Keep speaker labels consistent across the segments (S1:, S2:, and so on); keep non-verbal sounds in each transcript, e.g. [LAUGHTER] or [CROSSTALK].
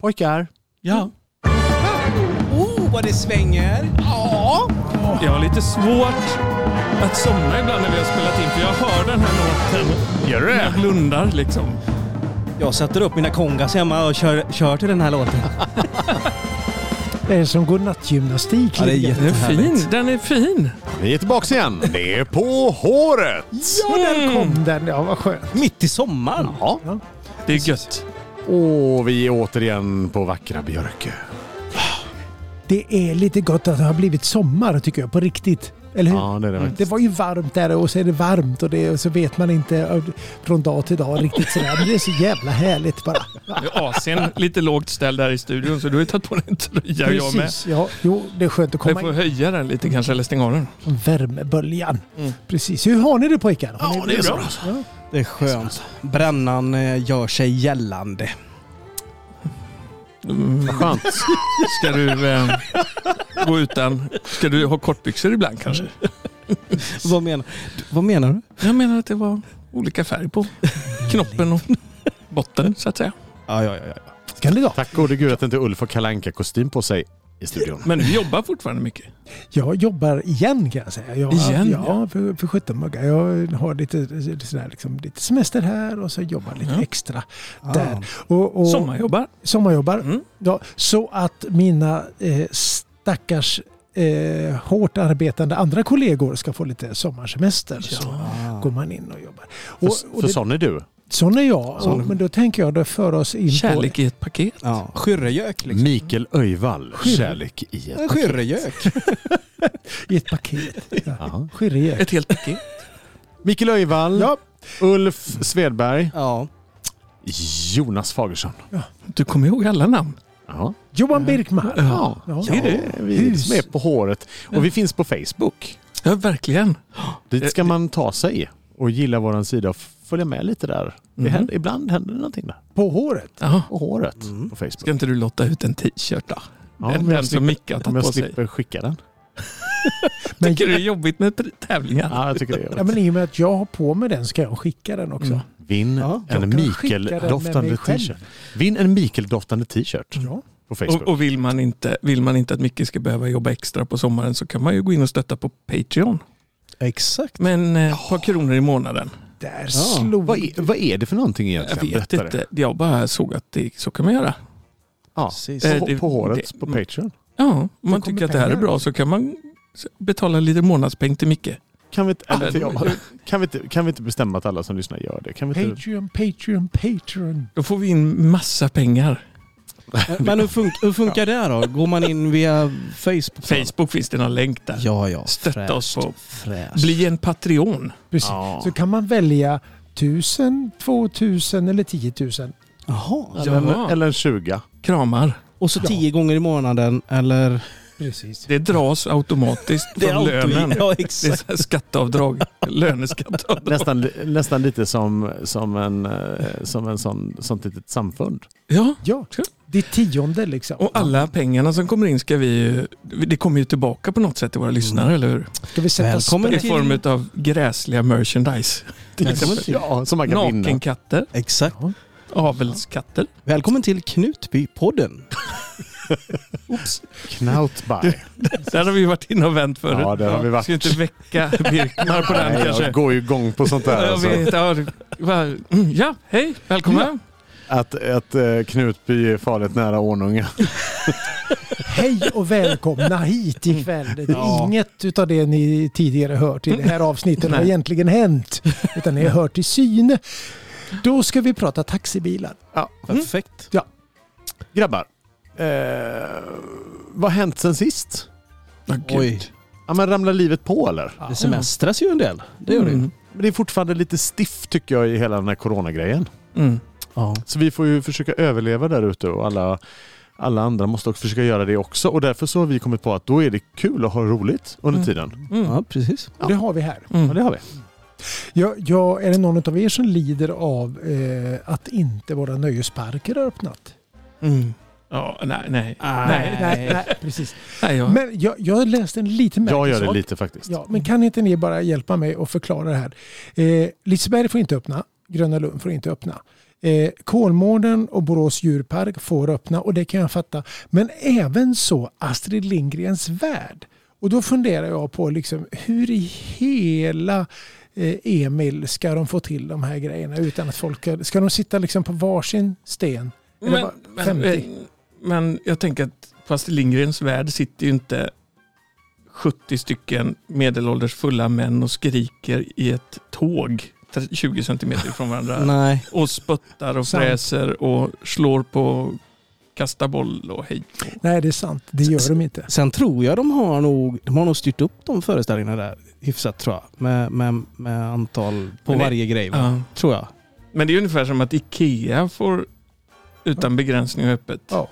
S1: Pojkar.
S2: Ja.
S3: Oh, vad det svänger! Ja!
S2: Jag har lite svårt att somna ibland när vi har spelat in för jag hör den här låten.
S1: Gör du
S2: Jag blundar liksom.
S3: Jag sätter upp mina kongas hemma och kör, kör till den här låten.
S4: Det är som godnattgymnastik.
S3: Ja, det är
S4: lite.
S2: Den är
S3: Härligt.
S2: fin. Den är fin.
S1: Vi är tillbaka igen. Det är på håret.
S4: ja, där
S2: Mm.
S4: kom den. Ja, vad skönt.
S3: Mitt i sommaren.
S1: Ja.
S2: Det är gött.
S1: Och vi är återigen på vackra Björkö.
S4: Det är lite gott att det har blivit sommar tycker jag, på riktigt. Eller hur?
S1: Ja, det är det
S4: Det
S1: faktiskt.
S4: var ju varmt där och så är det varmt och, det, och så vet man inte ö, från dag till dag riktigt sådär. Men det är så jävla härligt bara.
S2: Nu är AC'n lite lågt ställd här i studion så du har ju tagit på dig en tröja jag med.
S4: Precis, ja. Jo, det är skönt att
S2: Jag
S4: komma
S2: får
S4: in
S2: höja den lite kanske eller stänga av den.
S4: från värmeböljan. Precis. Hur har ni det pojkar? Har ni-
S2: bra.
S4: Ja.
S3: Det är skönt. Brännan eh, gör sig gällande.
S2: Mm.
S1: Skönt.
S2: Ska du eh, gå utan? Ska du ha kortbyxor ibland kanske?
S3: Vad menar, du- vad menar du?
S2: Jag menar att det var olika färg på knoppen och botten så att säga.
S3: Ja, ja, ja. ja.
S4: Ska ni då?
S1: Tack gode gud att inte Ulf och kalanka kostym på sig i studion.
S2: Men du jobbar fortfarande mycket.
S4: Jag jobbar igen kan jag säga. Jag,
S2: Igen,
S4: Ja, för, för 17 muggar. Jag har lite, sådär, liksom, lite semester här och så jobbar lite
S2: Ja.
S4: extra
S3: Ah.
S4: där. Och, och,
S2: Sommarjobbar.
S4: sommarjobbar.
S2: Mm.
S4: Ja, så att mina eh, stackars eh, hårt arbetande andra kollegor ska få lite sommarsemester. Så går man in och jobbar.
S1: För,
S4: Och, och
S1: för
S4: det,
S1: sån är du.
S4: sån är jag. Och, men då tänker jag då för oss in
S2: Kärlek i ett paket.
S3: ja. Skyrrejök liksom.
S1: Mikael Öjvall. Kärlek i ett...
S3: En Skyrrejök.
S4: på i ett paket. Ja.
S1: Jaha.
S4: Skyrrejök.
S2: [LAUGHS] Ett helt paket.
S1: Mikael Öjvall.
S4: Ja.
S1: Ulf Svedberg.
S3: Ja.
S1: Jonas Fagersson.
S2: Du kommer ihåg alla namn.
S1: Ja.
S4: Johan Birkman.
S1: Ja,
S4: Ja.
S1: det är det. Vi är
S4: Hus.
S1: som är på håret. Och vi finns på Facebook.
S2: Ja, verkligen. Eh,
S1: Dit ska man ta sig och gilla vår sida och följa med lite där. Det
S2: Mhm.
S1: händer, ibland händer det någonting där.
S4: På håret.
S2: Ja.
S1: På håret på
S2: Mm. Ska
S1: Facebook.
S2: inte du lotta ut en t-shirt då?
S1: Ja,
S2: den
S1: om jag
S2: den som Micke har
S1: Om
S2: tagit
S1: jag
S2: på sig.
S1: slipper skicka den.
S4: Men-
S2: Tycker du det är jobbigt med pri- tävlingar?
S1: Ja, jag tycker det.
S4: Ja,
S1: Är
S4: men I och med att jag har på mig den ska jag skicka den också.
S2: Mm.
S1: Vinn
S4: Ja, jag
S1: en
S4: kan skicka den med
S1: Mikael-doftande
S4: mig själv.
S1: t-shirt. Vinn en Mikael-doftande t-shirt
S4: Ja.
S1: på Facebook.
S2: Och, och vill, man inte, vill man inte att Micke ska behöva jobba extra på sommaren så kan man ju gå in och stötta på Patreon.
S3: Exakt.
S2: Men eh, ett par kronor i månaden.
S4: Där
S3: Ja.
S4: slog
S1: Vad, är, vad är det för någonting
S2: Jag
S1: egentligen?
S2: vet
S1: Berätta
S2: inte. Jag bara såg att det, så kan man göra.
S1: Ja.
S3: Precis.
S2: Eh,
S1: På,
S2: det-
S1: på håret,
S2: det-
S1: på Patreon.
S2: Ja, om man
S4: kommer
S2: tycker att det här är
S4: pengar.
S2: bra så kan man s- betala lite månadspeng till Micke.
S1: Kan vi, inte, eller,
S2: Ah.
S1: till jag- kan, vi inte, kan vi inte bestämma att alla som lyssnar gör det? Kan vi inte,
S4: Patreon, Patreon, Patreon.
S2: Då får vi in massa pengar.
S3: Men hur, fun- hur funkar det då? Går man in via Facebook?
S2: Facebook finns det någon länk där.
S3: Ja, ja.
S2: Stötta
S3: Fräscht.
S2: oss på.
S3: Fräscht.
S2: Bli en Patreon.
S4: Precis.
S1: Ja.
S4: Så kan man välja 1000, 2000 eller 10 000.
S3: Jaha.
S2: Ja.
S1: eller, eller en 20?
S2: Kramar.
S3: Och så
S4: Ja.
S3: tio gånger i månaden eller?
S4: Precis.
S2: Det dras automatiskt från lönen.
S3: Ja,
S2: Det är
S3: exakt.
S2: så här skatteavdrag. Löneskatteavdrag.
S1: Nästan, nästan lite som, som, en, eh, som en sån, sånt litet samfund.
S2: Ja,
S4: Ja, det tionde liksom.
S2: och alla pengarna som kommer in ska vi ju... Det kommer ju tillbaka på något sätt till
S1: Mm.
S2: våra lyssnare, eller hur?
S4: Ska vi sätta
S3: Välkommen
S4: sprätt?
S2: I form av gräsliga merchandise. Till exempel.
S1: Ja, som man kan vinna.
S2: Nakenkatter,
S3: Exakt.
S2: avelskatter.
S3: Välkommen till Knutbypodden.
S1: Knautby.
S2: Där har vi varit inne och vänt förut.
S1: Ja, där har vi varit.
S2: Ska inte väcka Birkmar på den
S1: Nej,
S2: kanske.
S1: Jag går ju igång på sånt
S2: Ja,
S1: där.
S2: jag
S1: Alltså.
S2: vet, ja, det var- mm, ja, hej, välkommen.
S1: Att, att eh, Knutby är farligt nära Ornunga.
S4: Hej och välkomna hit ikväll. Det är Inget utav det ni tidigare hört i det här avsnittet har
S2: Nej.
S4: egentligen hänt. Utan ni har hört i syne. Då ska vi prata taxibilar.
S3: Perfekt.
S1: Grabbar, eh, vad har hänt sen sist?
S2: Ja, gud.
S3: Oj,
S1: Ja, men ramlar livet på eller?
S3: det semestras ju en del. Det gör det ju.
S2: Mm,
S1: Men det är fortfarande lite stiff tycker jag i hela den här coronagrejen.
S2: mm.
S3: Ja.
S1: Så vi får ju försöka överleva där ute och alla, alla andra måste också försöka göra det också. Och därför så har vi kommit på att då är det kul att ha roligt under
S2: Mm.
S1: tiden.
S2: Mm.
S3: ja, precis.
S4: Och det har vi här.
S1: Ja,
S2: Mm.
S1: det har vi.
S4: Ja, ja, är det någon av er som lider av eh, att inte våra nöjesparker har öppnat?
S2: Mm. Ja, nej, nej.
S3: Nej.
S4: nej precis.
S2: nej ja.
S4: Men jag, jag läste en liten
S1: Jag
S4: märklig
S1: gör det
S4: sak.
S1: lite faktiskt.
S4: Ja, men kan inte ni bara hjälpa mig och förklara det här? Eh, Liseberg får inte öppna, Gröna Lund får inte öppna. Eh, Kolmården och Borås djurpark får öppna och det kan jag fatta. Men även så Astrid Lindgrens värld. Och då funderar jag på liksom, hur i hela eh, Emil ska de få till de här grejerna utan att folk... Ska de sitta liksom på varsin sten? Eller
S2: Men,
S4: bara
S2: men,
S4: 50?
S2: eh, men jag tänker att på Astrid Lindgrens värld sitter ju inte 70 stycken medelålders fulla män och skriker i ett tåg 30 20 centimeter från
S3: [LAUGHS]
S2: varandra.
S3: Nej.
S2: och spottar och
S4: Sant.
S2: fräser och slår på kasta boll och hej.
S4: Nej, det är sant. Det gör de inte.
S3: Sen tror jag de har nog, de har nog styrt upp de föreställningarna där hyfsat tror jag. Med, med, med antal på
S2: Men det-
S3: varje grej. va?
S2: Ja.
S3: Tror jag.
S2: Men det är ungefär som att Ikea får utan begränsning och öppet.
S4: Ja.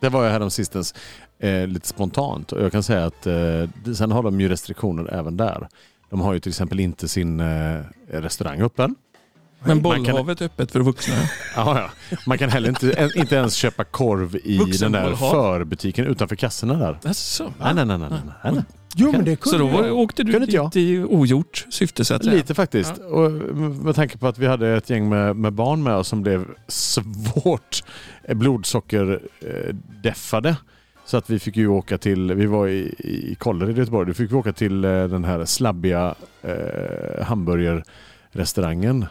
S1: Det var jag häromsistens eh, lite spontant och jag kan säga att eh, det- sen har de ju restriktioner även där. De har ju till exempel inte sin eh, restaurang öppen. Man
S2: Men
S1: kan-
S2: bollhavet är öppet för vuxna.
S1: Ja, ja. Man kan heller inte, en, inte ens köpa korv i den där
S2: Vuxenbollhav.
S1: förbutiken utanför kassorna där.
S2: Alltså,
S1: Nej, nej, nej. nej, nej, nej.
S4: Jo, men det
S2: så
S4: kunde
S2: då var,
S4: jag.
S2: åkte du
S1: Kunde inte
S2: dit i ogjort syfte så att säga.
S1: Lite faktiskt. Och med tanke på att vi hade ett gäng med, med barn med oss som blev svårt blodsockerdeffade. Så att vi fick ju åka till, vi var i, i Kållered i Göteborg, då fick vi åka till eh, den här slabbiga eh, hamburgerrestaurangen.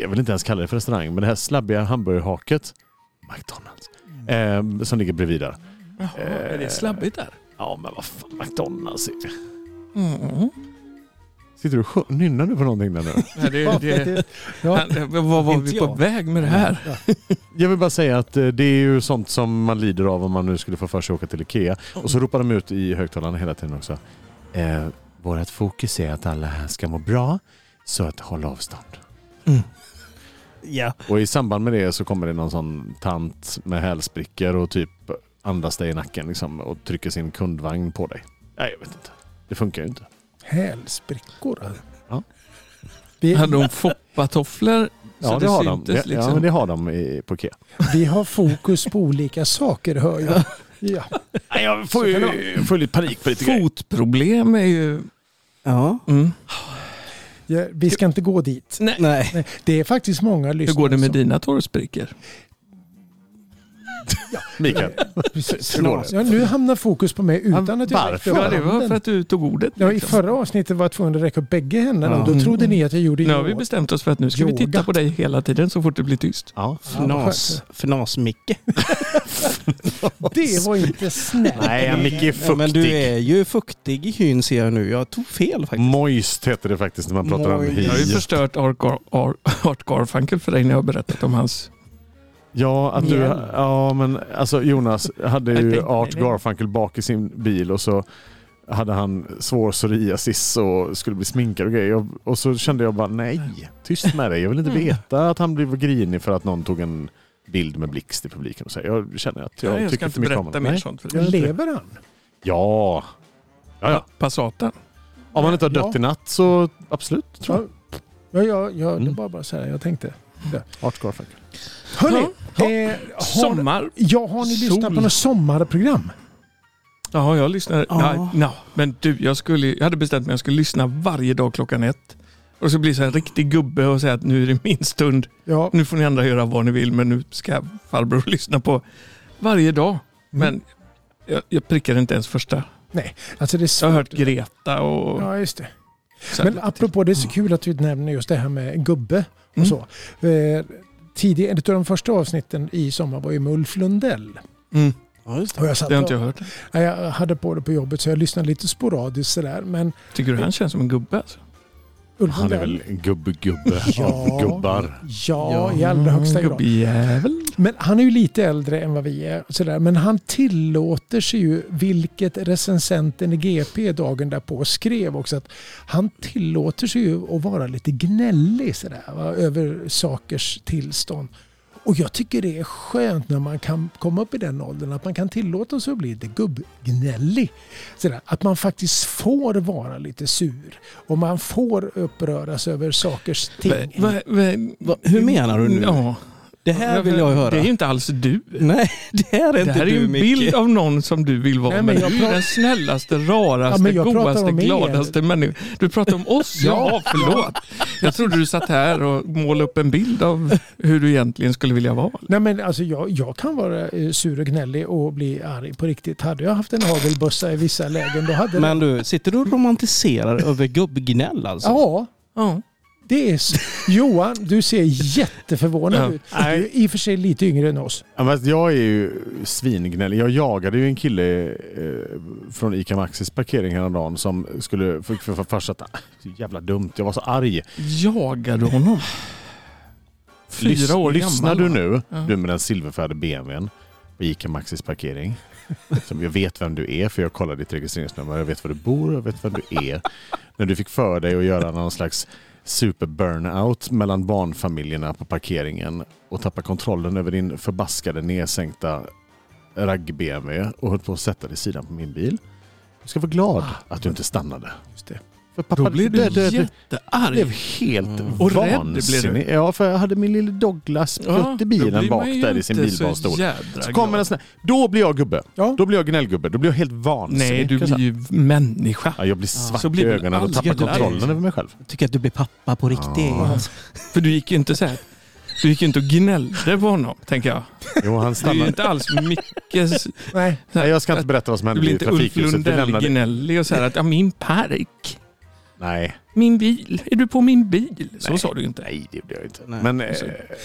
S1: Jag vill inte ens kalla det för restaurang, men det här slabbiga hamburgerhaket. McDonalds. Eh, som ligger bredvid där.
S2: Jaha, är det slabbigt där?
S1: Ja men vad fan, McDonalds. är-
S2: Mm.
S1: Sitter du och sjö- nynnar du på någonting där nu?
S2: Nej, det, det,
S4: Ja.
S2: han, vad var
S3: Inte
S2: vi på
S3: jag.
S2: väg med det här?
S1: Jag vill bara säga att eh, det är ju sånt som man lider av om man nu skulle få för sig att åka till Ikea. Och så ropar de ut i högtalarna hela tiden också. Eh, vårt fokus är att alla här ska må bra, så att håll avstånd.
S3: Ja.
S1: Och i samband med det så kommer det någon sån tant med hälsbrickor och typ andas dig i nacken liksom, och trycker sin kundvagn på dig. Nej, jag vet inte. Det funkar ju inte.
S4: Hälsbrickor.
S1: Ja.
S4: Vi,
S2: Hade de foppatofflor?
S1: Ja, det liksom? har de.
S2: syntes liksom.
S1: Ja, men det har de i, på Ikea.
S4: vi har fokus på olika saker, hör
S2: [LAUGHS]
S4: jag. Ja.
S1: Nej, jag får
S4: ju-
S1: ju får lite panik på lite grejer.
S2: Fotproblem är ju...
S3: ja.
S2: Mm.
S4: Ja, Vi ska inte gå dit.
S2: Nej.
S3: Nej.
S4: Nej, det är faktiskt många lyssnare
S2: Hur går det med
S4: som-
S2: dina
S1: alltså.
S2: torrsprickor?
S1: Mikael.
S4: Precis.
S1: Hur går det?
S4: Ja, nu hamnar fokus på mig utan att jag
S1: Varför?
S4: räckte upp
S2: Ja, det var
S4: handen.
S2: för att du tog ordet.
S4: Ja, I
S2: liksom.
S4: förra avsnittet var jag tvungen att räcka upp bägge händerna.
S3: Ja.
S4: Då trodde ni att jag gjorde
S2: Nu har vi
S4: yoga.
S2: bestämt oss för att nu ska vi titta
S4: Yoga.
S2: på dig hela tiden så fort det blir tyst.
S1: Ja.
S4: vad
S3: Fnas. Fnas-Micke.
S4: Det var inte snällt.
S1: Nej, Micke är
S3: Ja,
S1: fuktig. Mm.
S3: men du är ju fuktig i hyn ser jag nu. Jag tog fel faktiskt.
S1: Moist heter det faktiskt när man pratar om
S3: Moist.
S1: hy.
S2: Jag har ju förstört Art Gar- Ar- [LAUGHS] Art Garfunkel för dig när jag har berättat om hans...
S1: Ja, att du,
S4: Mjäll.
S1: ja, men alltså Jonas hade
S2: Jag
S1: ju
S2: tänkte
S1: Art
S2: det.
S1: Garfunkel bak i sin bil och så hade han svår psoriasis och skulle bli sminkad och grejer. Och, och så kände jag bara nej, tyst med dig. Jag vill inte
S2: Mm.
S1: veta att han blev grinig för att någon tog en bild med blixt i publiken. Och så. här. Jag känner att jag,
S2: Nej, jag
S1: tycker inte
S2: ska inte
S1: mycket om
S2: berätta
S1: honom.
S2: mer
S1: Nej.
S2: sånt för dig.
S1: Ja.
S4: Lever han?
S1: Ja. Ja, ja.
S2: Passaten.
S1: Om han inte har dött i
S4: Ja.
S1: natt så absolut. Tror jag.
S4: Ja, ja, ja det
S1: Mm.
S4: var bara så här jag tänkte.
S1: Art Garfunkel.
S4: Hörni,
S2: Ja.
S4: eh, har,
S2: Sommar.
S4: ja, har ni lyssnat på
S2: Sol.
S4: något sommarprogram?
S2: Ja, jag lyssnar.
S3: Ja.
S2: Nej, nej. Men du, jag, skulle, jag hade bestämt mig att jag skulle lyssna varje dag klockan ett. Och så blir så en riktig gubbe och säga att nu är det min stund.
S4: Ja,
S2: Nu får ni andra göra vad ni vill, men nu ska farbror [LAUGHS] lyssna på varje
S3: Mm.
S2: dag. Men jag, jag prickade inte ens första.
S4: alltså det är
S2: Jag
S4: svårt.
S2: har hört Greta och...
S4: Ja, just det.
S2: så här
S4: Men
S2: lite
S4: apropå det är så kul att du nämner just det här med gubbe och
S2: Mm.
S4: så. Eh, tidig, ett av de första avsnitten i sommar var ju med Ulf Lundell.
S2: till. Mm,
S3: Ja, just
S4: Och jag, satt
S2: det har inte
S4: och,
S2: jag hört.
S4: nej, jag hade på det på jobbet så jag lyssnade lite sporadiskt sådär. Men
S2: Tycker du han känns som en gubbe? Alltså?
S4: Ulf
S1: Han är
S4: Lundell,
S1: väl gubb-gubbe
S4: Ja.
S1: av gubbar.
S4: ja, i allra högsta grad.
S2: Mm, Gubbjävel.
S4: Men han är ju lite äldre än vad vi är. och Sådär. Men han tillåter sig ju, vilket recensenten i GP dagen därpå skrev också, att han tillåter sig ju att vara lite gnällig sådär, va, över sakers tillstånd. Och jag tycker det är skönt när man kan komma upp i den åldern att man kan tillåta sig att bli lite gubbgnällig. Sådär, att man faktiskt får vara lite sur och man får uppröras över sakers ting.
S2: Va, va, va,
S3: Hur menar du nu?
S2: Ja,
S3: Det här vill jag höra.
S2: Det är ju inte alls du.
S3: Nej, [LAUGHS] det här är inte
S2: det här är
S3: du
S2: ju en
S3: Micke.
S2: bild av någon som du vill vara
S4: Nej, men
S2: men
S4: jag
S2: Du är
S4: pratar-
S2: den snällaste,
S4: Ja,
S2: raraste,
S4: men jag pratar
S2: godaste,
S4: om er.
S2: gladaste människan. Du pratar om oss? ja, förlåt. Jag trodde du satt här och målade upp en bild av hur du egentligen skulle vilja vara.
S4: Nej, men alltså jag, jag kan vara eh, sur och gnällig och bli arg på riktigt. Hade jag haft en hagelbössa i vissa lägen då hade
S3: Men du, sitter du och romantiserar över gubbgnäll
S4: det...
S3: alltså?
S4: Ja,
S2: Ja.
S4: det är... s- Johan, du ser jätteförvånad
S2: Ja.
S4: ut. Du är i och för sig lite yngre än oss.
S1: Ja, men jag är ju svingnällig. Jag jagade ju en kille eh, från ICA Maxis parkering häromdagen som skulle fick för, för, för sig att "Ah, det är jävla dumt, jag var så arg.
S2: Jagar du honom? Fyra
S1: Lys-
S2: år
S1: Lyssnar
S2: gammal,
S1: du nu,
S2: Ja.
S1: du med den silverfärgade BMWn på ICA Maxis parkering. Som jag vet vem du är för jag kollar ditt registreringsnummer. Jag vet var du bor och jag vet vem du är. När du fick för dig att göra någon slags super-burnout mellan barnfamiljerna på parkeringen och tappa kontrollen över din förbaskade nedsänkta ragg-BMW och höll på att sätta dig i sidan på min bil. Du ska vara glad
S4: Ah.
S1: att du inte stannade.
S4: Just det.
S1: För pappa,
S2: Då blir du
S1: det- det- det- jag blev
S2: jättearg.
S1: helt
S3: Mm.
S2: Och rädd blev
S1: vansinnig. Ja, för jag hade min lille Douglas
S2: Ja,
S1: plutt i
S2: då
S1: bilen
S2: blir
S1: bak
S2: man ju
S1: där i sin
S2: inte så
S1: bilbarnstol.
S2: jädra
S1: Så kommer
S2: glad.
S1: en sån här. Då blir jag gubbe.
S4: Ja.
S1: Då blir jag gnällgubbe. Då blir jag helt vansinnig.
S2: Nej, du
S1: kan jag
S2: blir
S1: säga.
S2: ju människa.
S1: Ja, jag blir svart
S2: Så blir
S1: i
S2: du
S1: ögonen och
S2: alls
S1: tappar
S2: jävla
S1: kontrollen
S2: arg.
S1: över mig själv.
S3: Jag tycker att du blir pappa på riktigt.
S1: Ja.
S2: För du gick ju inte så här. Du gick ju inte och gnällde på honom, tänker jag.
S1: Jo, han
S2: Du är ju
S1: stannar.
S2: inte alls Mickes...
S4: Nej,
S1: Nej, jag ska inte berätta vad som
S2: Du
S1: hände
S2: blir
S1: i
S2: inte Ulf
S1: trafikhuset. Vi lämnade...
S2: Lundell-gnällig och så här att ja, min park,
S1: Nej,
S2: min bil, är du på min bil? Så
S1: Nej.
S2: sa du ju inte.
S1: nej, det gjorde jag inte.
S3: Nej.
S1: Men eh,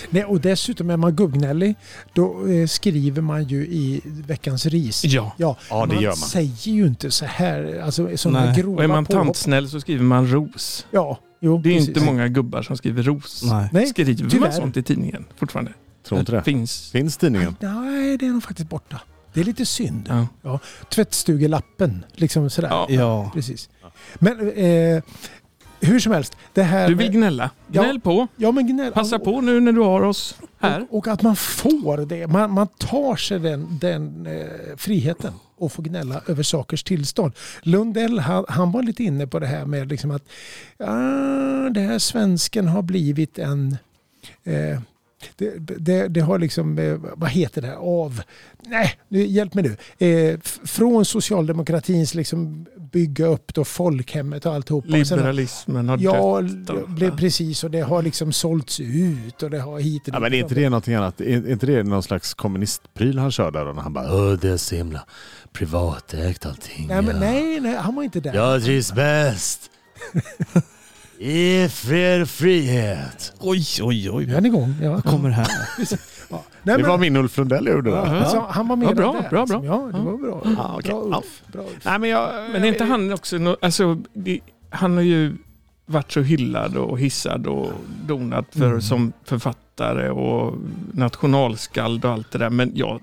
S4: Nej, och dessutom är man gubbgnällig då eh, skriver man ju i veckans ris.
S2: Ja.
S4: Ja,
S1: ja, det gör man.
S4: säger ju inte så här, alltså sådana
S3: Nej.
S4: grova
S2: Och är man
S4: påhopp.
S2: tantsnäll så skriver man ros.
S4: Ja, jo,
S2: Det är ju
S4: precis.
S2: inte många gubbar som skriver ros.
S3: Nej.
S4: Nej,
S2: Skriver
S4: tyvärr.
S2: man sånt i tidningen fortfarande?
S1: Tror inte det.
S2: Finns.
S1: Finns tidningen?
S4: Nej, det är nog faktiskt borta. Det är lite synd.
S2: Ja.
S4: Tvättstugelappen, liksom sådär.
S2: Ja.
S3: Ja.
S4: Precis. Men eh, hur som helst, det här...
S2: Du vill
S4: med-
S2: gnälla.
S4: Ja.
S2: Gnäll på.
S4: ja, men gnäll,
S2: Passa på nu när du har oss här.
S4: Och, och att man får det. Man, man tar sig den, den eh, friheten och får gnälla över sakers tillstånd. Lundell han, han var lite inne på det här med liksom att ah, det här svensken har blivit en... Eh, det, det, det har liksom, eh, vad heter det, här? av... Nej, nu, hjälp mig nu. Eh, f- från socialdemokratins liksom bygga upp då folkhemmet och alltihopa. Och sen-
S2: Liberalismen har dött.
S4: Ja,
S2: och-
S4: det, precis. Och det har liksom sålts ut och det har hit och
S1: Ja, men är inte det någonting annat? Är är inte det någon slags kommunistpryl han kör där? då, När han bara Åh, det är så himla privatägt allting.
S4: Nej, men,
S1: ja.
S4: nej, nej, han var inte där.
S1: Jag trivs bäst. I fred och frihet.
S3: Oj, oj,
S4: Nu är
S3: oj.
S4: han igång. Ja.
S3: Vad kommer [LAUGHS] här?
S4: Ja. Nej,
S1: det
S4: men,
S1: var min Ulf Lundell jag gjorde där.
S2: Ja.
S4: alltså, han var med
S2: Ja, bra,
S4: där.
S2: bra,
S4: liksom.
S2: bra.
S4: Ja, det
S2: Ja.
S4: var bra.
S1: Ah, okej.
S4: Bra
S1: Ja.
S4: Ulf. Bra Ulf.
S1: Nej, men jag,
S2: Men är inte han också, nå- alltså, det- han har ju varit så hyllad och hissad och donat för,
S4: Mm.
S2: som författare och nationalskald och allt det där. Men ja,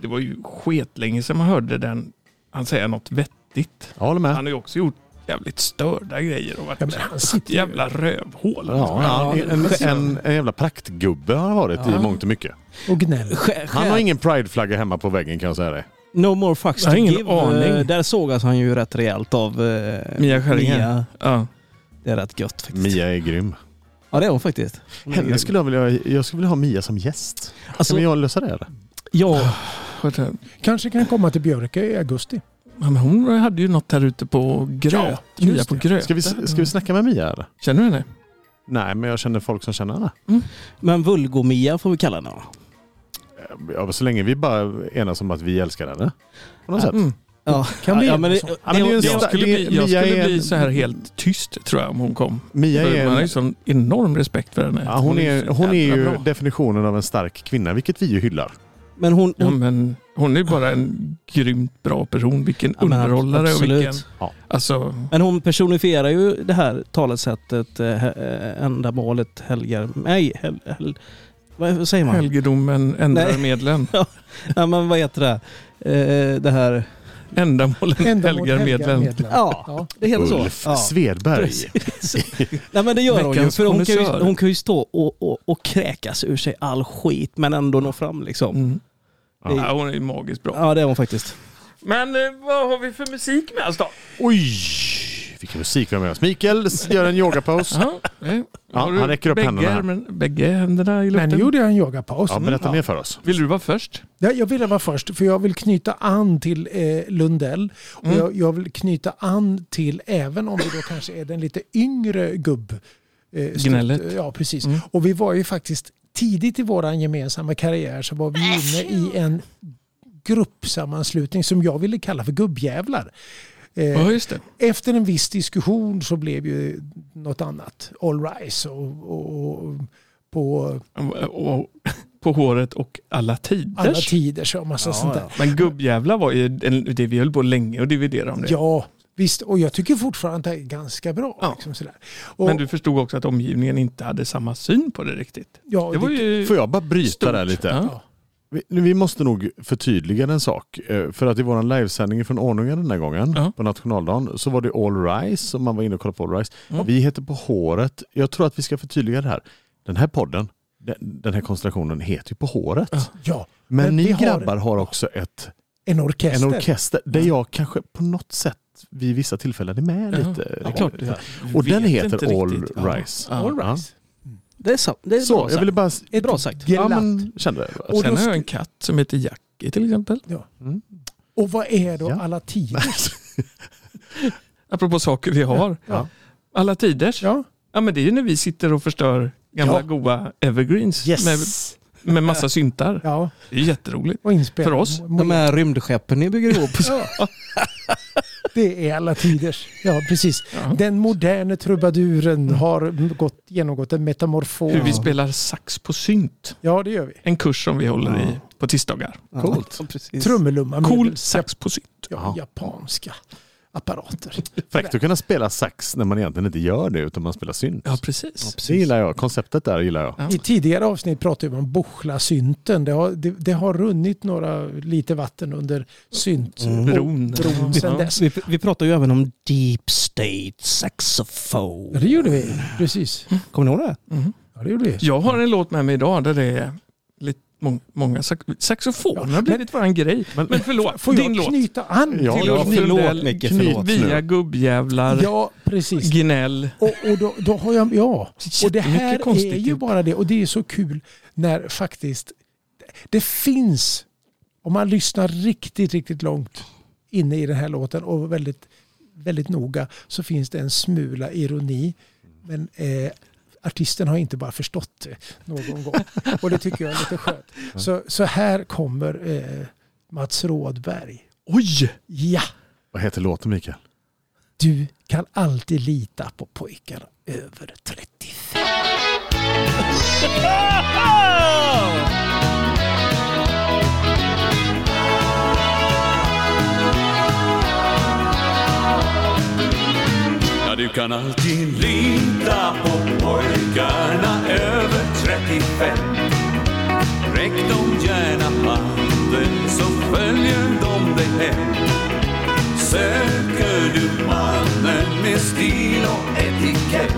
S2: det var ju skitlänge sedan man hörde den, han säga något vettigt.
S1: Jag håller med.
S2: Han har ju också gjort jävligt störda grejer och varit
S4: Ja, men han sitter ju-
S2: jävla rövhål.
S1: Ja, han- en, en, en jävla praktgubbe har han varit
S3: Ja.
S1: i mångt och mycket.
S4: Och gnäll.
S3: Sk-
S1: Han har
S3: sk-
S1: ingen prideflagga hemma på väggen kan jag säga dig.
S3: No more fucks
S2: Jag
S3: to
S2: har ingen
S3: give.
S2: aning.
S3: Eh, Där sågas han ju rätt rejält av eh,
S2: Mia Skäringer.
S3: Mia.
S2: Ja.
S3: Det är rätt gött faktiskt.
S1: Mia är grym.
S3: Ja det är hon faktiskt. Hon är
S1: Henne
S3: grym.
S1: skulle jag, vilja, jag skulle vilja ha Mia som gäst.
S3: Alltså,
S1: Kan jag lösa det? Eller?
S3: ja,
S4: Kanske kan komma till Björke i augusti.
S2: Ja, men hon hade ju något här ute på gröt.
S4: Ja, just
S2: Mia på
S4: det.
S2: gröt.
S1: Ska, vi, ska vi snacka med Mia? Eller?
S2: Känner du henne?
S1: Nej, men jag känner folk som känner henne.
S3: men Vulgo-Mia får vi kalla henne va?
S1: Eh, Ja, så länge vi bara enas om att vi älskar henne. På något sätt.
S2: Mm.
S3: Ja,
S4: Kan bli
S3: ja, men det,
S4: så.
S1: Ja, men det är ju en
S3: det-
S2: Jag
S1: sta-
S2: skulle
S1: det-
S2: bli, jag
S1: Mia är
S2: skulle
S1: en-
S2: bli så här helt tyst tror jag om hon kom.
S1: Mia
S2: För
S1: är
S2: Mm. Man har
S1: en,
S2: ju sån enorm respekt för henne.
S1: ja, hon är,
S2: så
S1: hon är
S2: jävla
S1: ju
S2: bra.
S1: definitionen av en stark kvinna, vilket vi ju hyllar.
S3: men hon...
S2: Ja,
S3: hon
S2: men hon är ju bara en grymt bra person. Vilken
S3: ja, men
S2: underhållare och
S3: absolut.
S2: vilken...
S1: Ja.
S2: Alltså,
S3: Men hon personifierar ju det här talesättet eh, eh, ändamålet helgar mig. Hel, hel, vad säger man?
S2: helgedomen ändrar
S3: Nej.
S2: medlen. [LAUGHS]
S3: Ja, men vad heter det? Eh, det här...
S2: Ändamålen
S4: Ändamål
S2: helgar medlen.
S3: Ja,
S4: Ja.
S3: det heter så.
S1: Ulf
S3: Ja.
S1: Svedberg.
S3: Precis. Nej men det gör hon ju.
S2: Veckans
S3: För hon, kan ju
S2: konnässör.
S3: hon kan ju stå och, och, och kräkas ur sig all skit men ändå nå fram liksom.
S2: Mm.
S1: Ja.
S2: Ja, hon är ju magiskt bra.
S3: Ja det är hon faktiskt.
S2: Men eh, vad har vi för musik med oss då?
S1: Oj, Vilken musik vi har med oss. Mikael gör en yogapaus.
S2: Jaha, nej.
S1: Ja,
S2: eh, Har du
S1: han räcker upp
S2: bägge
S1: händerna här.
S2: armen- Bägge händerna i
S4: Men
S2: luften.
S4: nu gjorde jag en yogapaus.
S1: Ja, berätta
S4: Mm,
S1: mer för oss.
S2: Vill du vara först?
S4: Ja, jag ville vara först, för jag vill knyta an till eh, Lundell. Och
S2: Mm.
S4: jag, jag vill knyta an till, även om det då kanske är den lite yngre gubb... Eh, stöt-
S2: Gnället.
S4: Ja, precis.
S2: Mm.
S4: Och vi var ju faktiskt tidigt i vår gemensamma karriär så var vi inne i en gruppsammanslutning som jag ville kalla för gubbjävlar. Eh,
S2: Ja, just det.
S4: efter en viss diskussion så blev ju något annat. All rise och, och, och på
S2: Och, på håret och alla tiders.
S4: alla tider så massa sånt där.
S2: Men gubbjävlar var ju en- det vi höll på länge och dividera om det.
S4: Ja, visst. Och jag tycker fortfarande att det är ganska bra.
S2: Ja.
S4: Liksom sådär. Och,
S2: Men du förstod också att omgivningen inte hade samma syn på det riktigt.
S4: ja,
S2: Det var
S4: det-
S2: ju
S1: Får jag bara bryta
S2: stort.
S1: där lite?
S2: Ja.
S1: Vi, nu, vi måste nog förtydliga en sak. Eh, För att i vår livesändning från Ornungen den här gången,
S2: Ja.
S1: på nationaldagen, så var det All Rise och man var inne och kollade på All Rise.
S2: Ja.
S1: Vi heter På håret. Jag tror att vi ska förtydliga det här. Den här podden, den, den här konstellationen heter ju På håret.
S2: Ja.
S4: ja,
S1: Men,
S4: Men vi
S1: ni
S4: har-
S1: grabbar har också ett,
S4: en orkester.
S1: en orkester där jag kanske på något sätt vid vissa tillfällen är med
S2: Ja,
S1: lite.
S2: Det är klart.
S1: Ja.
S2: Jag
S1: Och den
S2: vet
S1: heter
S2: inte
S1: All
S2: riktigt. Ja.
S1: Rise.
S2: Ja.
S4: All rise.
S3: Det är, sant. det är
S1: Så,
S3: bra
S1: jag
S3: sagt.
S1: ville bara...
S3: Ett bra sagt.
S1: Ja,
S4: Glatt.
S1: men kände det.
S4: Och
S2: Sen
S4: då
S2: har jag
S4: sk-
S2: en katt som heter Jackie till exempel.
S1: Mm. [LAUGHS]
S4: Och vad är då
S1: Ja. [LAUGHS]
S4: alla tider?
S2: Apropå saker vi har.
S1: Ja.
S2: Alla tiders. Ja.
S4: Ja.
S2: men det är ju när vi sitter och förstör gamla
S4: Ja.
S2: goa evergreens med, med massa syntar.
S4: Ja,
S2: Det är jätteroligt.
S4: och inspelning.
S2: För oss.
S3: De här rymdskeppen ni bygger ihop.
S4: [LAUGHS] Ja. Det är alla tiders. Ja, precis.
S2: Ja. Mm.
S4: Den moderna trubaduren har gått, genomgått en metamorfos.
S2: Hur vi spelar sax på synt.
S4: Ja, det gör vi.
S2: En kurs som vi håller i på tisdagar.
S1: Coolt.
S3: Ja, [LAUGHS] precis.
S4: Trummelumma
S2: Cool
S4: medels-
S2: sax på synt.
S4: ja, japanska apparater.
S1: Fräckt att kunna spela sax när man egentligen inte gör det utan man spelar synt.
S2: Ja, precis.
S1: Det gillar jag. Konceptet där gillar jag.
S2: Ja.
S4: I tidigare avsnitt pratade vi om Bochla-synten. Det har, det, det har runnit några lite vatten under synt.
S3: Mm.
S2: Bron.
S4: Bron sen
S2: Ja.
S4: dess.
S3: Vi, vi pratar ju även om deep state saxofon.
S4: Ja, det gjorde vi. Precis.
S3: Kommer ni ihåg det?
S2: Mhm.
S4: Ja, det gjorde vi.
S2: Jag har en låt med mig idag där det är lite mång- många sax saxofoner. har blivit våran grej.
S1: Men-
S2: Men, förlåt,
S4: Får
S2: din
S4: jag
S2: låt.
S4: knyta an?
S1: Ja,
S2: till
S1: ja.
S2: Ulf
S3: Förlåt,
S2: Lundell,
S3: Micke,
S2: knyt
S1: förlåt nu.
S2: via gubbjävlar,
S4: Ja, precis.
S2: gnäll.
S4: Och, och då, då har jag, ja. Och det
S2: Jättemycket
S4: här
S2: konstigt
S4: är ju
S2: gjort.
S4: bara det. Och det är så kul när faktiskt det finns, om man lyssnar riktigt, riktigt långt inne i den här låten och väldigt, väldigt noga så finns det en smula ironi. Men eh, artisten har inte bara förstått det någon gång.
S2: [LAUGHS]
S4: Och det tycker jag är lite skönt. Så, så här kommer eh, Mats Rådberg.
S2: Oj!
S4: Ja,
S1: Vad heter låten Mikael?
S4: du kan alltid lita på pojkar över 35.
S5: Ja, du kan alltid lita på pojkarna över 35. Räck dem gärna handen så följer de dig hem. Söker du mannen med stil och etikett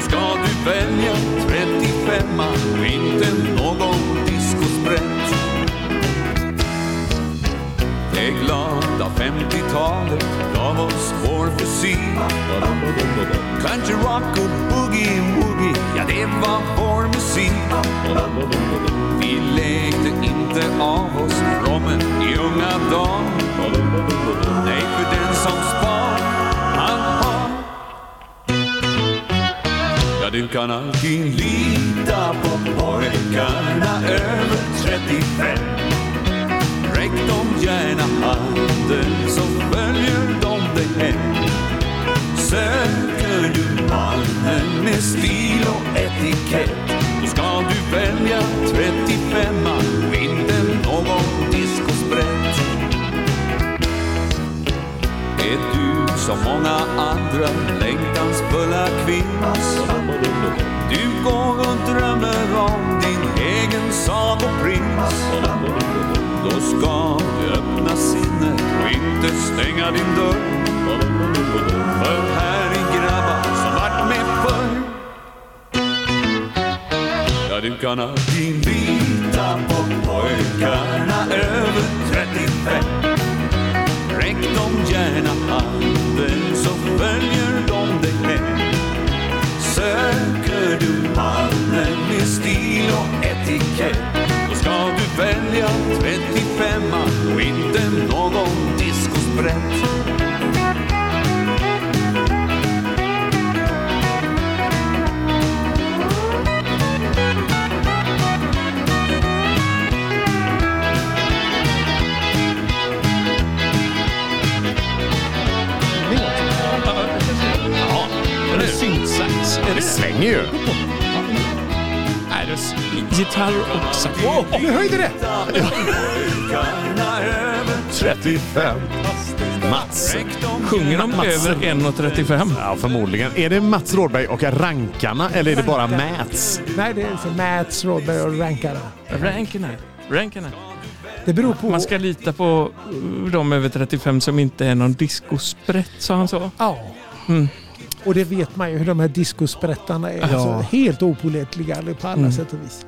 S5: ska du välja 35 och inte någon diskosprätt. Det glada 50-talet gav oss vår fysik. Country rock och boogie woogie, ja det var vår musik. Vi lekte inte av oss rommen i unga dagar. Nej, för den som spar, han har. Ja, du kan alltid lita på pojkarna över 35. Räck dem gärna handen så följer de dig hem. Söker du mannen med stil och etikett då ska du välja 35 och inte någon diskosprätt. Är du som många andra längtansfulla kvinnor? Du går och drömmer om din egen sagoprins. Då ska du öppna sinnet och inte stänga din dörr. För här är grabbar som varit med förr. Ja, du kan alltid lita på pojkarna över 35. Räck dem gärna handen så följer de brett
S2: Ja, det är synsax. Är
S1: Det svänger ju.
S2: Nej, det är s- gitarr och sax.
S4: Nu höjde det!
S5: Karna över
S1: 35. Mats.
S2: Sjunger de över 1.35?
S1: Ja, förmodligen. Är det Mats Rådberg och Rankarna eller är det bara Mats?
S4: Nej, det är så Mats Rådberg och rankarna.
S2: Rankerna. Rankerna.
S4: Det beror på...
S2: Man ska lita på eh, de över 35 som inte är någon discosprätt, sa han så.
S4: Ja.
S2: Mm.
S4: Och det vet man ju hur de här diskosprättarna är. Alltså, helt opålitliga på alla
S2: Mm.
S4: sätt och vis.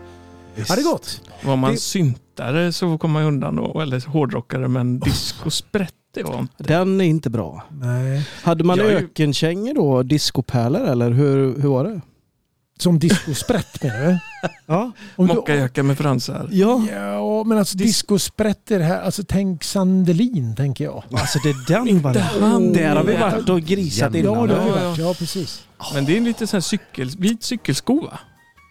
S4: Ja, det är gott.
S2: Var man
S4: Det-
S2: syntare så kom man ju undan då, eller hårdrockare, men discosprätt det var han.
S3: Den är inte bra.
S4: Nej.
S3: Hade man
S2: Jag är ju-
S3: ökenkängor då? Diskopärlor eller hur, hur var det?
S4: Som diskosprätt menar du?
S3: Ja.
S4: Om du-
S2: Mockajacka med fransar.
S3: Ja,
S4: Ja, men alltså
S2: Dis-
S4: diskosprätt är det här. Alltså tänk Sandelin tänker jag.
S3: alltså det är den var
S2: han.
S3: Där har vi varit och grisat
S4: Ja,
S3: innan.
S4: det har ju
S2: Ja,
S4: varit. Ja, precis.
S2: Men det är en liten sån här cykel, vit cykelsko va?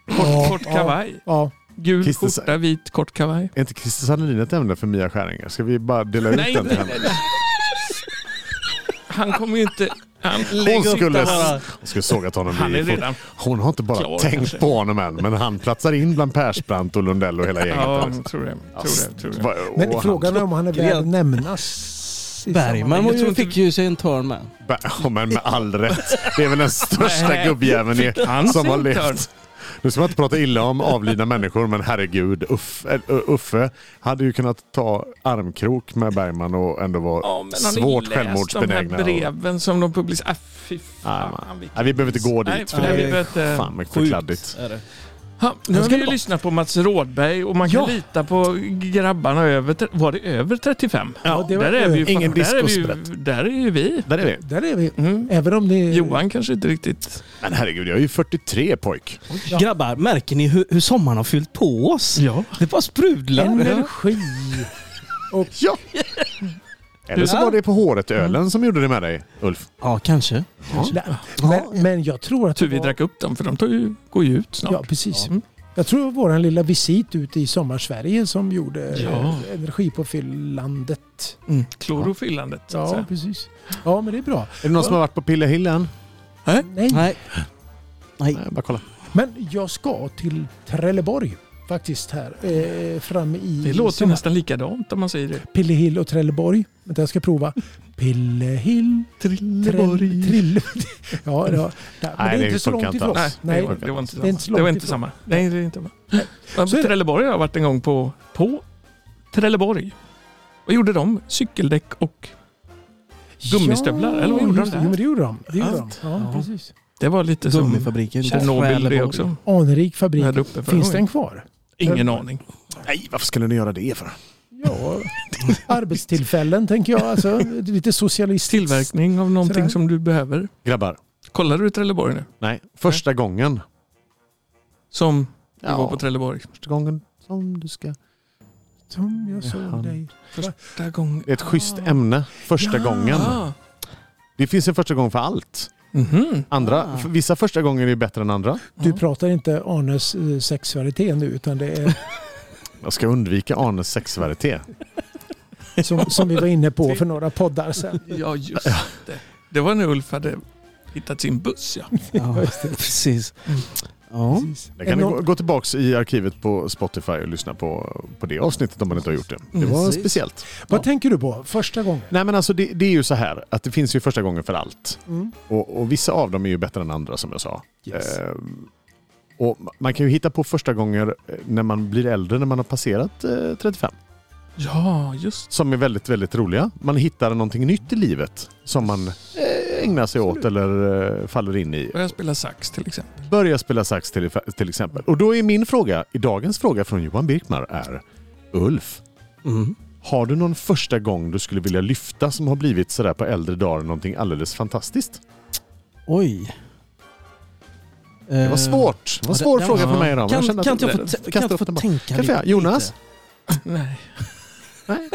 S4: Ja,
S2: Kort, kort
S4: ja.
S2: kavaj.
S4: Ja.
S2: Gul
S1: Christer
S2: skjorta,
S1: säger-
S2: vit, kort kavaj.
S1: Är inte Christer Sandelin ett ämne för Mia Skäringer? Ska vi bara dela ut
S2: Nej,
S1: den till
S2: nej,
S1: henne?
S2: nej, nej. Han kommer ju inte... Han,
S1: Hon skulle,
S3: bara.
S1: hon skulle sågat honom
S2: han
S1: i
S2: är
S1: foten.
S2: redan...
S1: Hon har inte bara
S2: Klar,
S1: tänkt
S2: kanske.
S1: på honom än, men han platsar in bland Persbrandt och Lundell och hela gänget.
S2: Ja,
S1: där.
S2: tror det. Tror det, tror det.
S1: Va- och
S4: Men
S1: han-
S4: frågan är om han är värd att
S3: Helt-
S4: nämnas. i
S3: Bergman var
S2: Jag tror
S3: ju,
S2: inte
S3: fick ju sig en törn med.
S1: Ja, men med all rätt. Det är väl den största
S2: Nej.
S1: gubbjäveln i-
S2: Han
S1: som har
S2: ser inte
S1: levt. Nu ska man inte prata illa om avlidna människor, men herregud. Uff, äh, Uffe hade ju kunnat ta armkrok med Bergman och ändå vara
S2: Ja, men har
S1: svårt
S2: ni läst de här
S1: självmordsbenägna. och-
S2: breven som de publicerar? Ah, fy
S1: Nej,
S2: fan.
S1: man-
S2: vilken-
S1: Nej, vi behöver inte gå
S2: Nej,
S1: dit. För
S2: nej,
S1: det
S2: vi
S1: är
S2: behöver inte-
S1: fan mycket för
S3: Sjukt
S1: kladdigt.
S3: är det.
S2: Ha, nu har
S4: ska
S2: vi ju
S4: bara-
S2: lyssnat på Mats Rådberg och man kan
S4: Ja.
S2: lita på grabbarna över... tre- Var det över 35?
S4: Ja, det var-
S2: där är vi ju,
S1: eh, Ingen
S2: där är vi ju,
S1: discosprätt. Eh,
S2: där är ju vi.
S1: Där är vi.
S4: Där är vi.
S2: Mm.
S4: Även om det är...
S2: Johan kanske inte riktigt...
S1: Men herregud, jag är ju 43 pojk.
S4: Ja.
S3: Grabbar, märker ni hur, hur sommaren har fyllt på oss?
S2: Ja.
S3: Det bara sprudlar.
S4: Energi.
S1: Ja. Eller så
S3: Ja.
S1: var det på
S2: Mm.
S1: håret-ölen som gjorde det med dig, Ulf.
S3: Ja, kanske.
S4: Men, men jag tror att... det
S2: Tur vi
S4: var-
S2: drack upp dem för de tar ju, går ju ut snart.
S4: Ja, precis.
S2: Ja.
S4: Jag tror det var vår lilla visit ute i Sommarsverige som gjorde
S2: Ja.
S4: eh, energipåfyllandet.
S2: Mm. Klorofyllandet. så att
S4: Ja,
S2: säga.
S4: precis. Ja, men det är bra.
S1: Är det någon som har varit på Pillehill än?
S4: Nej.
S3: Nej. Nej.
S1: Nej, bara kolla.
S4: Men jag ska till Trelleborg faktiskt här. Eh, fram i
S2: Det låter
S4: sommar.
S2: nästan likadant om man säger det.
S4: Pillehill och Trelleborg. Vänta, jag ska prova. Pillehill, Trelleborg. Trille... [LAUGHS] Ja, ja. Nej, men
S1: Nej,
S4: det
S1: det
S4: är inte så
S1: funkar
S4: långt
S1: inte
S4: ifrån.
S1: alls.
S4: Nej,
S2: det var- det var inte
S4: Det är
S2: samma.
S4: inte så
S2: Det var
S4: långt
S2: inte
S4: ifrån.
S2: samma. Nej, det är inte samma. Ja,
S4: Så är det.
S2: Trelleborg har jag varit en gång på, på Trelleborg. Vad gjorde de? Cykeldäck och... Gummistövlar, eller vad gjorde
S4: just
S2: de
S4: det.
S2: där?
S4: Jo, men det gjorde de. Det gjorde de.
S2: Allt.
S4: Ja,
S2: Ja.
S4: precis.
S2: Det var lite som
S3: Gummifabriken.
S2: Tjernobyl det också.
S4: Anrik fabrik.
S2: Här uppe förra
S4: Finns
S2: gången.
S4: den kvar?
S2: Ingen aning.
S1: Nej, varför skulle ni göra det för?
S4: Ja, [LAUGHS] arbetstillfällen tänker jag. Alltså, lite socialistiskt.
S2: Tillverkning av någonting
S4: Sådär.
S2: som du behöver.
S1: Grabbar,
S2: Kollar du Trelleborg nu?
S1: nej. Första gången.
S2: Som du
S1: Ja.
S2: var på Trelleborg.
S1: Första gången som du ska...
S4: Som Mm, jag såg
S1: Jaha.
S4: dig.
S2: Första gången.
S1: Det är ett
S4: Ah.
S1: schysst ämne. Första
S4: Ja.
S1: gången.
S2: Ah.
S1: Det finns en första gång för allt.
S2: Mhm.
S1: Andra,
S3: Ah.
S1: f- Vissa första gånger är bättre än andra.
S4: Du
S2: Ja.
S4: pratar inte Arnes eh, sexualitet nu utan det är
S1: Jag ska undvika Arnes sexualitet.
S4: som, som vi var inne på för några poddar sedan.
S2: Ja, just det. Det var när Ulf hade hittat sin buss, ja.
S3: [LAUGHS] Ja, Mm. precis. Ja.
S4: Precis.
S1: Där kan ni
S4: Enormt-
S1: gå, gå tillbaks i arkivet på Spotify och lyssna på, på det avsnittet om man inte har gjort det. [LAUGHS] Det
S2: Mm.
S1: var
S3: Precis.
S1: speciellt.
S4: Vad tänker du på första gången?
S1: Nej men alltså det, det är ju så här att det finns ju första gången för allt.
S4: Mm.
S1: Och, och vissa av dem är ju bättre än andra som jag sa.
S4: Yes.
S1: Ehm, och man kan ju hitta på första gånger eh, när man blir äldre, när man har passerat eh, 35.
S2: Ja, just
S1: Som är väldigt, väldigt roliga. Man hittar någonting nytt i livet som man eh, ägnar sig åt eller eh, faller in i.
S2: Börja spela sax till
S1: [LAUGHS]
S2: exempel.
S1: Börja spela sax till, till exempel. Och då är min fråga, i dagens fråga från Johan Birkmar är Ulf,
S3: Mm.
S1: har du någon första gång du skulle vilja lyfta som har blivit sådär på äldre dagar någonting alldeles fantastiskt?
S3: Oj. Eh,
S1: Det var svårt. Det var en
S3: Ja,
S1: svår
S3: det-
S1: fråga
S2: ja.
S1: för mig idag. men
S3: Kan,
S1: kände
S3: kan
S1: att-
S3: inte jag få, t- kan
S1: kasta
S3: jag
S1: upp
S3: få
S1: den bara.
S3: tänka
S1: Kan jag få-
S3: lite?
S1: Jonas?
S2: Nej.
S1: Nej.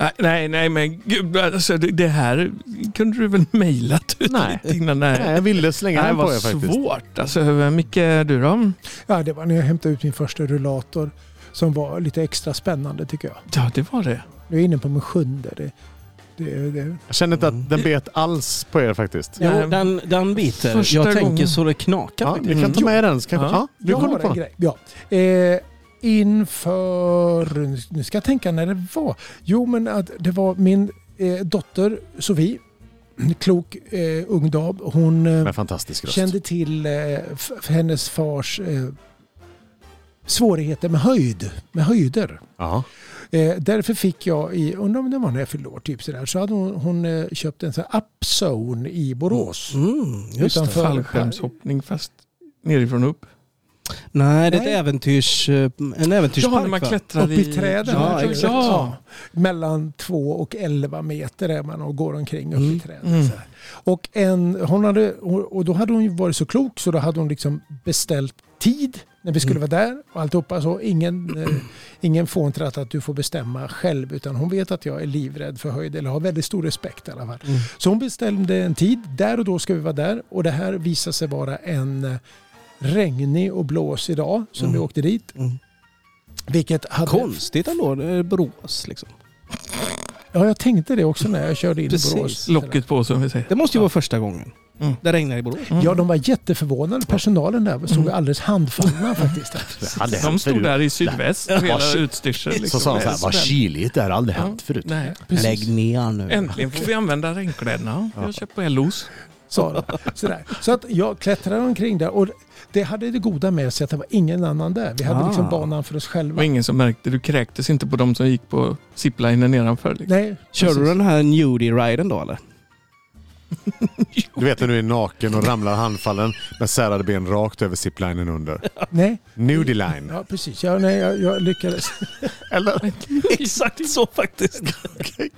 S2: Nej, nej, nej men gud, alltså, det, det här kunde du väl mejlat ut
S1: Nej.
S2: lite innan? det här?
S1: Nej, jag ville slänga
S2: Nej,
S1: den på
S2: vad
S1: er faktiskt.
S2: svårt. Alltså, Micke, du då?
S4: Ja, det var när jag hämtade ut min första rullator som var lite extra spännande tycker jag.
S2: Ja, det var det.
S4: Nu är jag inne på min sjunde. Det, det, det.
S1: Jag kände inte att den bet alls på er faktiskt.
S2: Ja,
S3: Jo, den, den biter.
S2: första
S3: jag tänker
S2: gången.
S3: så det knakar.
S1: Ja,
S3: faktiskt.
S1: vi kan ta med den. så Kanske.
S2: Ja.
S1: Ja, du
S4: Jag
S1: kommer
S4: har
S1: på
S4: en
S1: den.
S4: grej. Ja. Eh, inför... Nu ska jag tänka när det var. Jo, men att det var min eh, dotter Sofie, en klok eh, ung dam. Hon eh,
S1: Med fantastisk röst.
S4: kände till eh, f- hennes fars eh, svårigheter med höjd, med höjder.
S1: Ja.
S4: Eh, därför fick jag, i, undrar om det var när jag fyllde år, typ sådär, så hade hon, hon eh, köpt en sån här upzone i Borås.
S3: Mm, just det.
S4: Utanför-
S2: Fallskärmshoppning fast nerifrån och upp.
S3: Nej, det är
S4: Nej.
S3: ett äventyrs, eh, en äventyrspark.
S2: Ja, när man
S3: va?
S2: klättrar
S4: Upp i träden.
S2: Ja,
S3: Ja,
S2: exakt. Ja.
S4: Mellan 2 och 11 meter är man och går omkring upp i
S3: Mm.
S4: träden.
S2: Mm.
S4: sådär. Och, en, hon hade, och och då hade hon ju varit så klok så då hade hon liksom beställt tid när vi skulle vara där och alltihopa. Så ingen, eh, ingen fåntratt att du får bestämma själv utan hon vet att jag är livrädd för höjd eller har väldigt stor respekt i alla fall.
S3: Mm.
S4: Så hon bestämde en tid. Där och då ska vi vara där. Och det här visade sig vara en eh, regnig och blåsig dag som
S3: Mm.
S4: vi åkte dit.
S3: Mm.
S4: Vilket hade...
S3: Konstigt ändå. Det är Borås liksom.
S4: Ja, jag tänkte det också när jag körde in
S3: Precis.
S4: i Borås.
S2: Locket på som vi säger.
S3: Det måste ju vara första gången.
S2: Mm.
S3: Det regnar i Borås.
S4: Ja, de var jätteförvånade. Personalen där stod
S3: Mm. [LAUGHS]
S4: alldeles handfallna faktiskt.
S1: Det hade
S2: De
S1: hänt
S2: stod
S1: förut.
S2: där i sydväst med hela
S1: Varsågod.
S2: utstyrseln.
S1: Så
S2: liksom.
S1: sa de så här,
S2: Spänn-
S1: vad kyligt det här har aldrig
S2: Ja.
S1: hänt förut.
S2: Nej.
S4: Precis.
S3: ner nu.
S2: Äntligen får vi använda regnkläderna. Jag har köpt på LOs.
S4: sa de. Sådär. Så att jag klättrade omkring där och det hade det goda med sig att det var ingen annan där. Vi hade
S3: Ah.
S4: liksom banan för oss
S2: Det
S4: själva.
S2: var ingen som märkte. Du kräktes inte på de som gick på ziplinen nedanför. Liksom.
S4: Nej,
S3: Kör du den här nudie-riden då
S2: [LAUGHS]
S3: eller?
S1: Du vet när du är naken och ramlar handfallen med särade ben rakt över ziplinen under.
S4: Nej,
S1: Nudie line.
S4: ja, precis. Ja, nej, jag, jag lyckades.
S1: Eller?
S3: Exakt så faktiskt.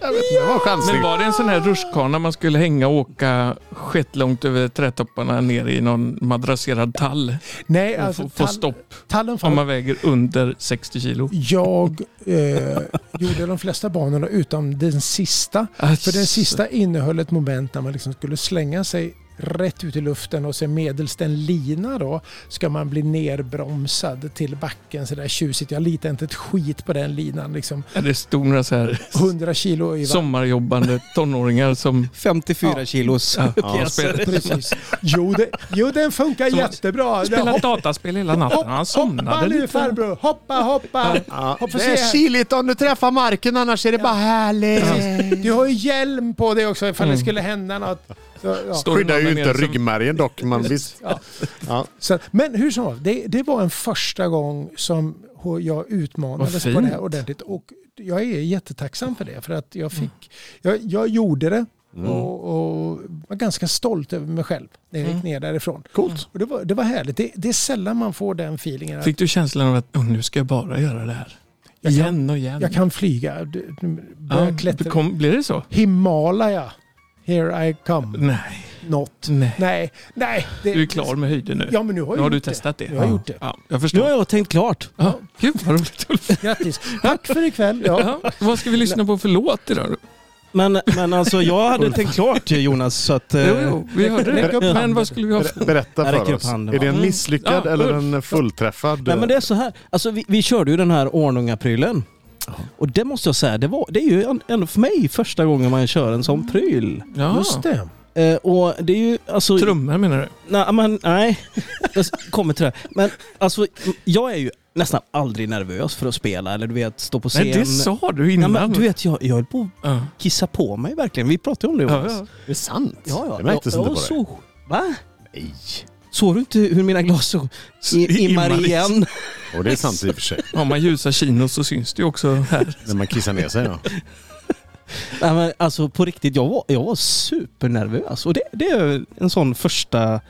S1: Jag vet inte, det var en chansning.
S2: Men var det en sån här rutschkana man skulle hänga och åka skittlångt över trädtopparna ner i någon madrasserad tall?
S4: Nej,
S2: Och få,
S4: alltså,
S2: få
S4: tall,
S2: stopp
S4: tallen
S2: om
S4: fann
S2: man väger under 60 kilo.
S4: Jag
S1: [LAUGHS]
S4: eh, gjorde de flesta banorna utom den sista. För
S2: Alltså,
S4: den sista innehöll ett moment när man liksom skulle slänga sig rätt ut i luften och sen medelst en lina då ska man bli nerbromsad till backen sådär tjusigt. Jag litar inte ett skit på den linan liksom.
S2: Ja, Det stod några
S4: [LAUGHS]
S2: så här
S4: 100 kilo i vatten.
S2: sommarjobbande tonåringar som
S3: 54
S4: Ja.
S3: kilos
S2: Ja.
S3: pjäser.
S4: Precis. Jo, det, jo den funkar
S2: Som-
S4: jättebra.
S2: spelat dataspel hela natten. Han
S4: hoppa
S2: somnade
S4: nu
S2: lite.
S4: farbror, hoppa, hoppa.
S1: Ja,
S4: Hoppas
S1: det är
S4: jag-
S1: kyligt om du träffar marken annars är det bara härligt.
S4: Du har ju hjälm på dig också ifall det
S1: Mm.
S4: skulle hända något. Så, ja.
S2: Står det
S1: Skyddar ju
S2: någon där
S1: inte
S2: nere som-
S1: ryggmärgen dock, men visst.
S4: Ja.
S1: Ja.
S4: Så, men hur som helst, det, det var en första gång som ho- jag
S2: Vad
S4: utmanades
S2: fint. Mm.
S4: på det här ordentligt. Och jag är jättetacksam för det. För att jag, fick, jag, jag gjorde det och, och var ganska stolt över mig själv när jag gick
S2: Mm.
S4: ner därifrån. Coolt. Och det, var, det var härligt. Det, det är sällan man får den feelingen. Att
S2: Fick du känslan av att "Åh, nu ska jag bara göra det här?
S4: Jag kan-
S2: igen och igen.
S4: jag kan flyga. Du- du- Börja
S2: ja,
S4: klättra.
S2: kom, blir det så?
S4: Himalaya. Here I come.
S2: Nej.
S4: Not.
S2: Nej.
S4: Nej, nej. det-
S2: Mm. Du är klar med höjden nu.
S4: Ja, men nu har, jag
S2: nu har du
S4: gjort det.
S2: testat det.
S4: Nu har jag gjort det.
S2: Ja, jag
S3: Nu
S2: förstår.
S3: har jag tänkt klart.
S2: Ja. Gud vad roligt Ulf.
S4: Grattis. Tack för ikväll. Ja.
S2: Ja. Vad ska vi lyssna på för låt idag?
S3: Eh, Men, men alltså jag hade tänkt klart Jonas så att... eh,
S2: Jo, jo, vi hörde
S4: Räck
S2: det.
S4: upp
S2: Men
S4: handen.
S2: vad skulle vi ha för...
S1: Ber- Berätta
S3: Jag
S1: för
S3: räcker
S1: oss.
S3: upp handen, va?
S1: Är det en
S2: Mm.
S1: misslyckad
S2: Ja,
S1: eller en fullträffad?
S3: Nej men det är så här. Alltså, vi, vi körde ju den här Ornunga-prylen. Och det måste jag säga, det, var, det är ju en- en, för mig första gången man kör en sån pryl.
S2: Ja.
S4: Just det.
S3: Eh, och det är ju alltså...
S2: Trummor menar du?
S3: Nej, men, nej. jag kommer till det. här. Men alltså, jag är ju nästan aldrig nervös för att spela eller du vet, stå på scen.
S2: Nej, det sa du
S3: Nej,
S2: innan.
S3: men, du vet, jag, jag höll på att
S2: ja.
S3: kissa på mig verkligen. Vi pratade ju om det
S2: Ja,
S3: Jonas.
S2: ja.
S1: det är sant.
S3: Ja, ja.
S1: Det märktes
S3: jag,
S1: inte
S3: jag
S1: på dig.
S3: såg, Va?
S1: Nej.
S3: Såg du inte hur mina glasögon i- immar
S2: Immar i-
S3: igen?
S1: Och det är sant i och för
S3: [LAUGHS]
S1: sig.
S2: Har man ljusa chinos så syns det ju också här.
S1: När man kissar ner sig. Ja.
S3: Nej, men alltså på riktigt, jag var, jag var supernervös. Och det, det är en sån första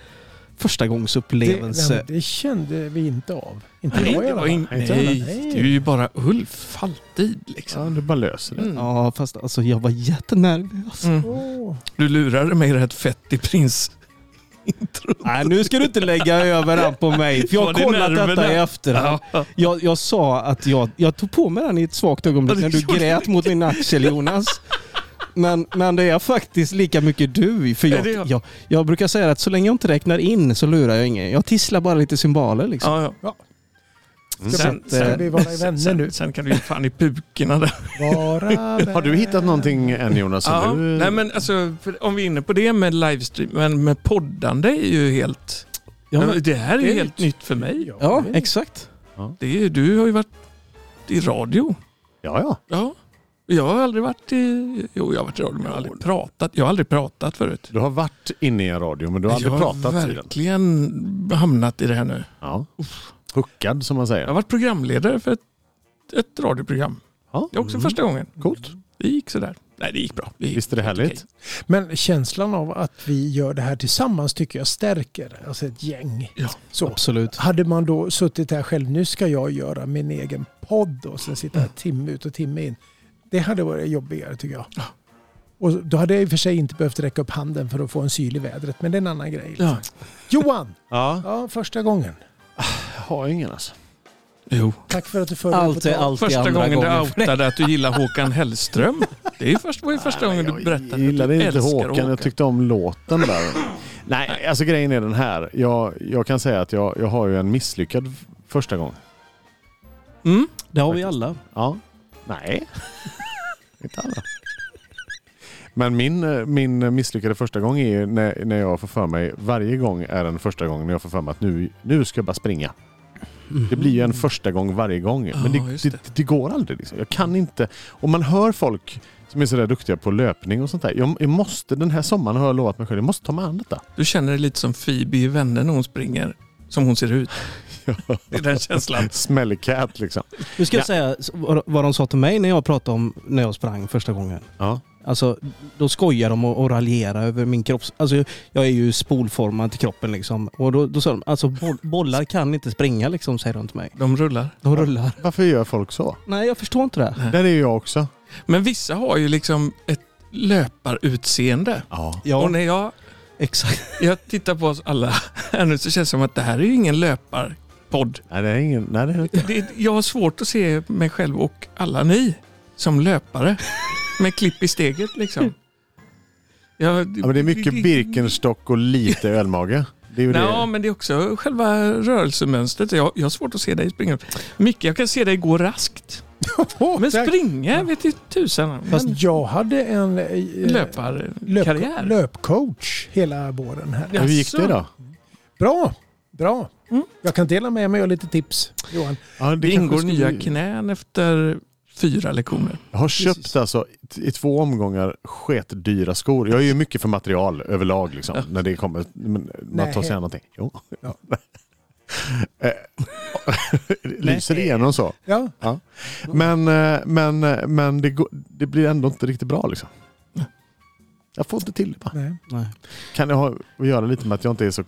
S3: första
S4: Det, nej,
S3: gångsupplevelse.
S4: men det kände vi inte av. Inte
S2: Nej,
S4: jag i
S2: det
S4: alla
S2: var
S4: fall.
S2: in...
S1: Inte jag,
S2: Nej, du är ju bara Ulf alltid
S1: Ja,
S2: liksom.
S1: du bara löser det.
S2: Mm.
S3: Ja, fast alltså jag var jättenervös.
S2: Mm.
S4: Åh.
S2: Du lurade mig rätt fett i prins. intro.
S3: Nej, nu ska du inte lägga över den på mig. För jag har
S2: Var det
S3: kollat
S2: nerverna?
S3: detta i efterhand.
S2: Ja.
S3: Jag, jag sa att jag, jag tog på mig den i ett svagt ögonblick
S2: Ja,
S3: när
S2: det
S3: du
S2: gjorde
S3: grät mot min axel Jonas. Men, men det är faktiskt lika mycket du. För
S2: Är det jag?
S3: jag, jag, jag brukar säga att så länge jag inte räknar in så lurar jag ingen. Jag tisslar bara lite symboler liksom.
S2: Ja, ja.
S4: Ska,
S3: eh,
S2: Sen-
S4: vi, ska vi
S2: [LAUGHS]
S4: vara vänner nu?
S2: Sen, sen kan du ju fan i pukorna där.
S4: Vara
S2: [LAUGHS]
S1: Har du hittat någonting än Jonas? som
S2: Ja,
S1: du...
S2: nej men alltså, för om vi är inne på det med livestream, men med poddande är ju helt...
S3: Ja, men-
S2: det här är ju
S4: det är
S2: helt
S4: nytt.
S2: nytt för mig.
S3: ja exakt.
S2: Det är, ju- du har ju varit i radio.
S1: ja, ja.
S2: Ja. Jag har aldrig varit i... Jo, jag har varit i radio, men jag har aldrig pratat. Jag har aldrig pratat förut.
S1: Du har varit inne i en radio men du har aldrig
S2: jag
S1: pratat
S2: har
S1: i den.
S2: verkligen hamnat i det här nu.
S1: Ja. Huckad som man
S2: Jag har
S1: säger.
S2: varit programledare för ett, ett radioprogram.
S1: Ja.
S2: Det är också
S1: Mm.
S2: första gången.
S1: Coolt.
S2: Det gick sådär. Nej, det gick bra. Det gick
S1: Visst är det
S2: helt
S1: härligt?
S4: Men känslan av att vi gör det här tillsammans tycker jag stärker. Alltså ett gäng.
S2: Ja.
S4: Så.
S3: Absolut.
S4: Hade man då suttit här själv, nu ska jag göra min egen podd och sen sitta här timme ut och timme in. Det hade varit jobbigare tycker jag. Och då hade jag i och för sig inte behövt räcka upp handen för att få en syl i vädret, men det är en annan grej.
S2: okej.
S4: Johan!
S1: Ja.
S4: Ja, första gången.
S1: Jag har ingen alltså.
S2: Ja. Jo.
S4: Tack för att du förde mig på
S3: Allt är
S4: tal.
S3: alltid
S2: Första
S3: andra
S2: gången du
S3: för dig.
S2: outade att du gillar Håkan Hellström. Det är ju först, var ju första gången du berättade
S1: Jag
S2: att du
S1: gillade inte
S2: älskar
S1: Håkan, jag tyckte om låten
S2: [LAUGHS]
S1: där. Nej, alltså grejen är den här. Jag, jag kan säga att jag, jag har ju en misslyckad f- första gång.
S2: Mm?
S3: Det har vi alla.
S1: Ja. Nej. [LAUGHS] inte alla. Men min, eh, min misslyckade första gång är ju när, när jag får för mig, varje gång är en första gång när jag får för mig att nu, nu ska jag bara springa.
S3: Mm.
S1: Det blir ju en första gång varje gång. Men
S2: Ja,
S1: det,
S2: just
S1: det.
S2: det.
S1: Det, går aldrig. Liksom. Jag kan inte. Och man hör folk som är sådär duktiga på löpning och sånt där. Jag, jag måste, den här sommaren har jag lovat mig själv, jag måste ta mig an detta.
S2: Du känner dig lite som Phoebe i Vänner när hon springer. Som hon ser ut. [LAUGHS] Det är
S1: [LAUGHS]
S2: den känslan.
S1: Smelly cat liksom.
S3: Nu ska jag
S1: Ja.
S3: säga vad- vad de sa till mig när jag pratade om när jag sprang första gången.
S1: Ja.
S3: Alltså, då skojar de och, och raljerar över min kropp. Alltså, jag är ju spolformad till kroppen liksom. Och då, då sa de, alltså boll, bollar kan inte springa liksom, säger de till mig.
S2: De rullar.
S3: De rullar.
S1: Varför gör folk så?
S3: Nej, jag förstår inte det.
S1: Där är ju jag också.
S2: Men vissa har ju liksom ett löparutseende.
S1: Ja.
S3: Ja,
S2: Och när jag,
S3: exakt.
S2: jag tittar på oss alla här nu så känns det som att det här är ju ingen löparpodd.
S1: Nej, det är ingen... Nej, det är inte.
S2: Det, jag har svårt att se mig själv och alla ni som löpare. Med klipp i
S1: [LAUGHS]
S2: steget liksom. Jag,
S1: Ja, men det är mycket Birkenstock och lite ölmage. Det är ju
S2: Ja,
S1: det.
S2: men det är också själva rörelsemönstret. Jag, jag har svårt att se dig springa. Micke, jag kan se dig gå raskt.
S4: [LAUGHS] Åh,
S2: Men
S4: tack.
S2: springa vet ju tusan.
S4: Fast
S3: Mm.
S2: Men
S4: jag hade en eh,
S2: löparkarriär.
S4: löp, löpcoach hela våren här.
S1: Men Hur gick det då?
S4: Bra, bra.
S2: Mm.
S4: Jag kan dela med mig av lite tips, Johan.
S1: Ja,
S2: Det
S1: kanske
S2: ingår
S1: skulle
S2: nya
S1: bli-
S2: knän efter fyra lektioner.
S1: Jag har köpt
S4: Precis.
S1: alltså t- i två omgångar sketdyra skor. Jag är ju mycket för material överlag liksom.
S2: Ja.
S1: När det kommer, men, man
S4: Nej.
S1: tar sig an någonting. Jo.
S4: Ja.
S1: [LAUGHS] Eh, [LAUGHS] Lyser
S4: Nej.
S1: igenom så.
S4: Ja,
S1: Men, eh, men, eh, men det, går, det blir ändå inte riktigt bra liksom. Jag får inte till det bara.
S4: nej.
S3: Nej.
S1: Kan det ha att göra lite med att jag inte är så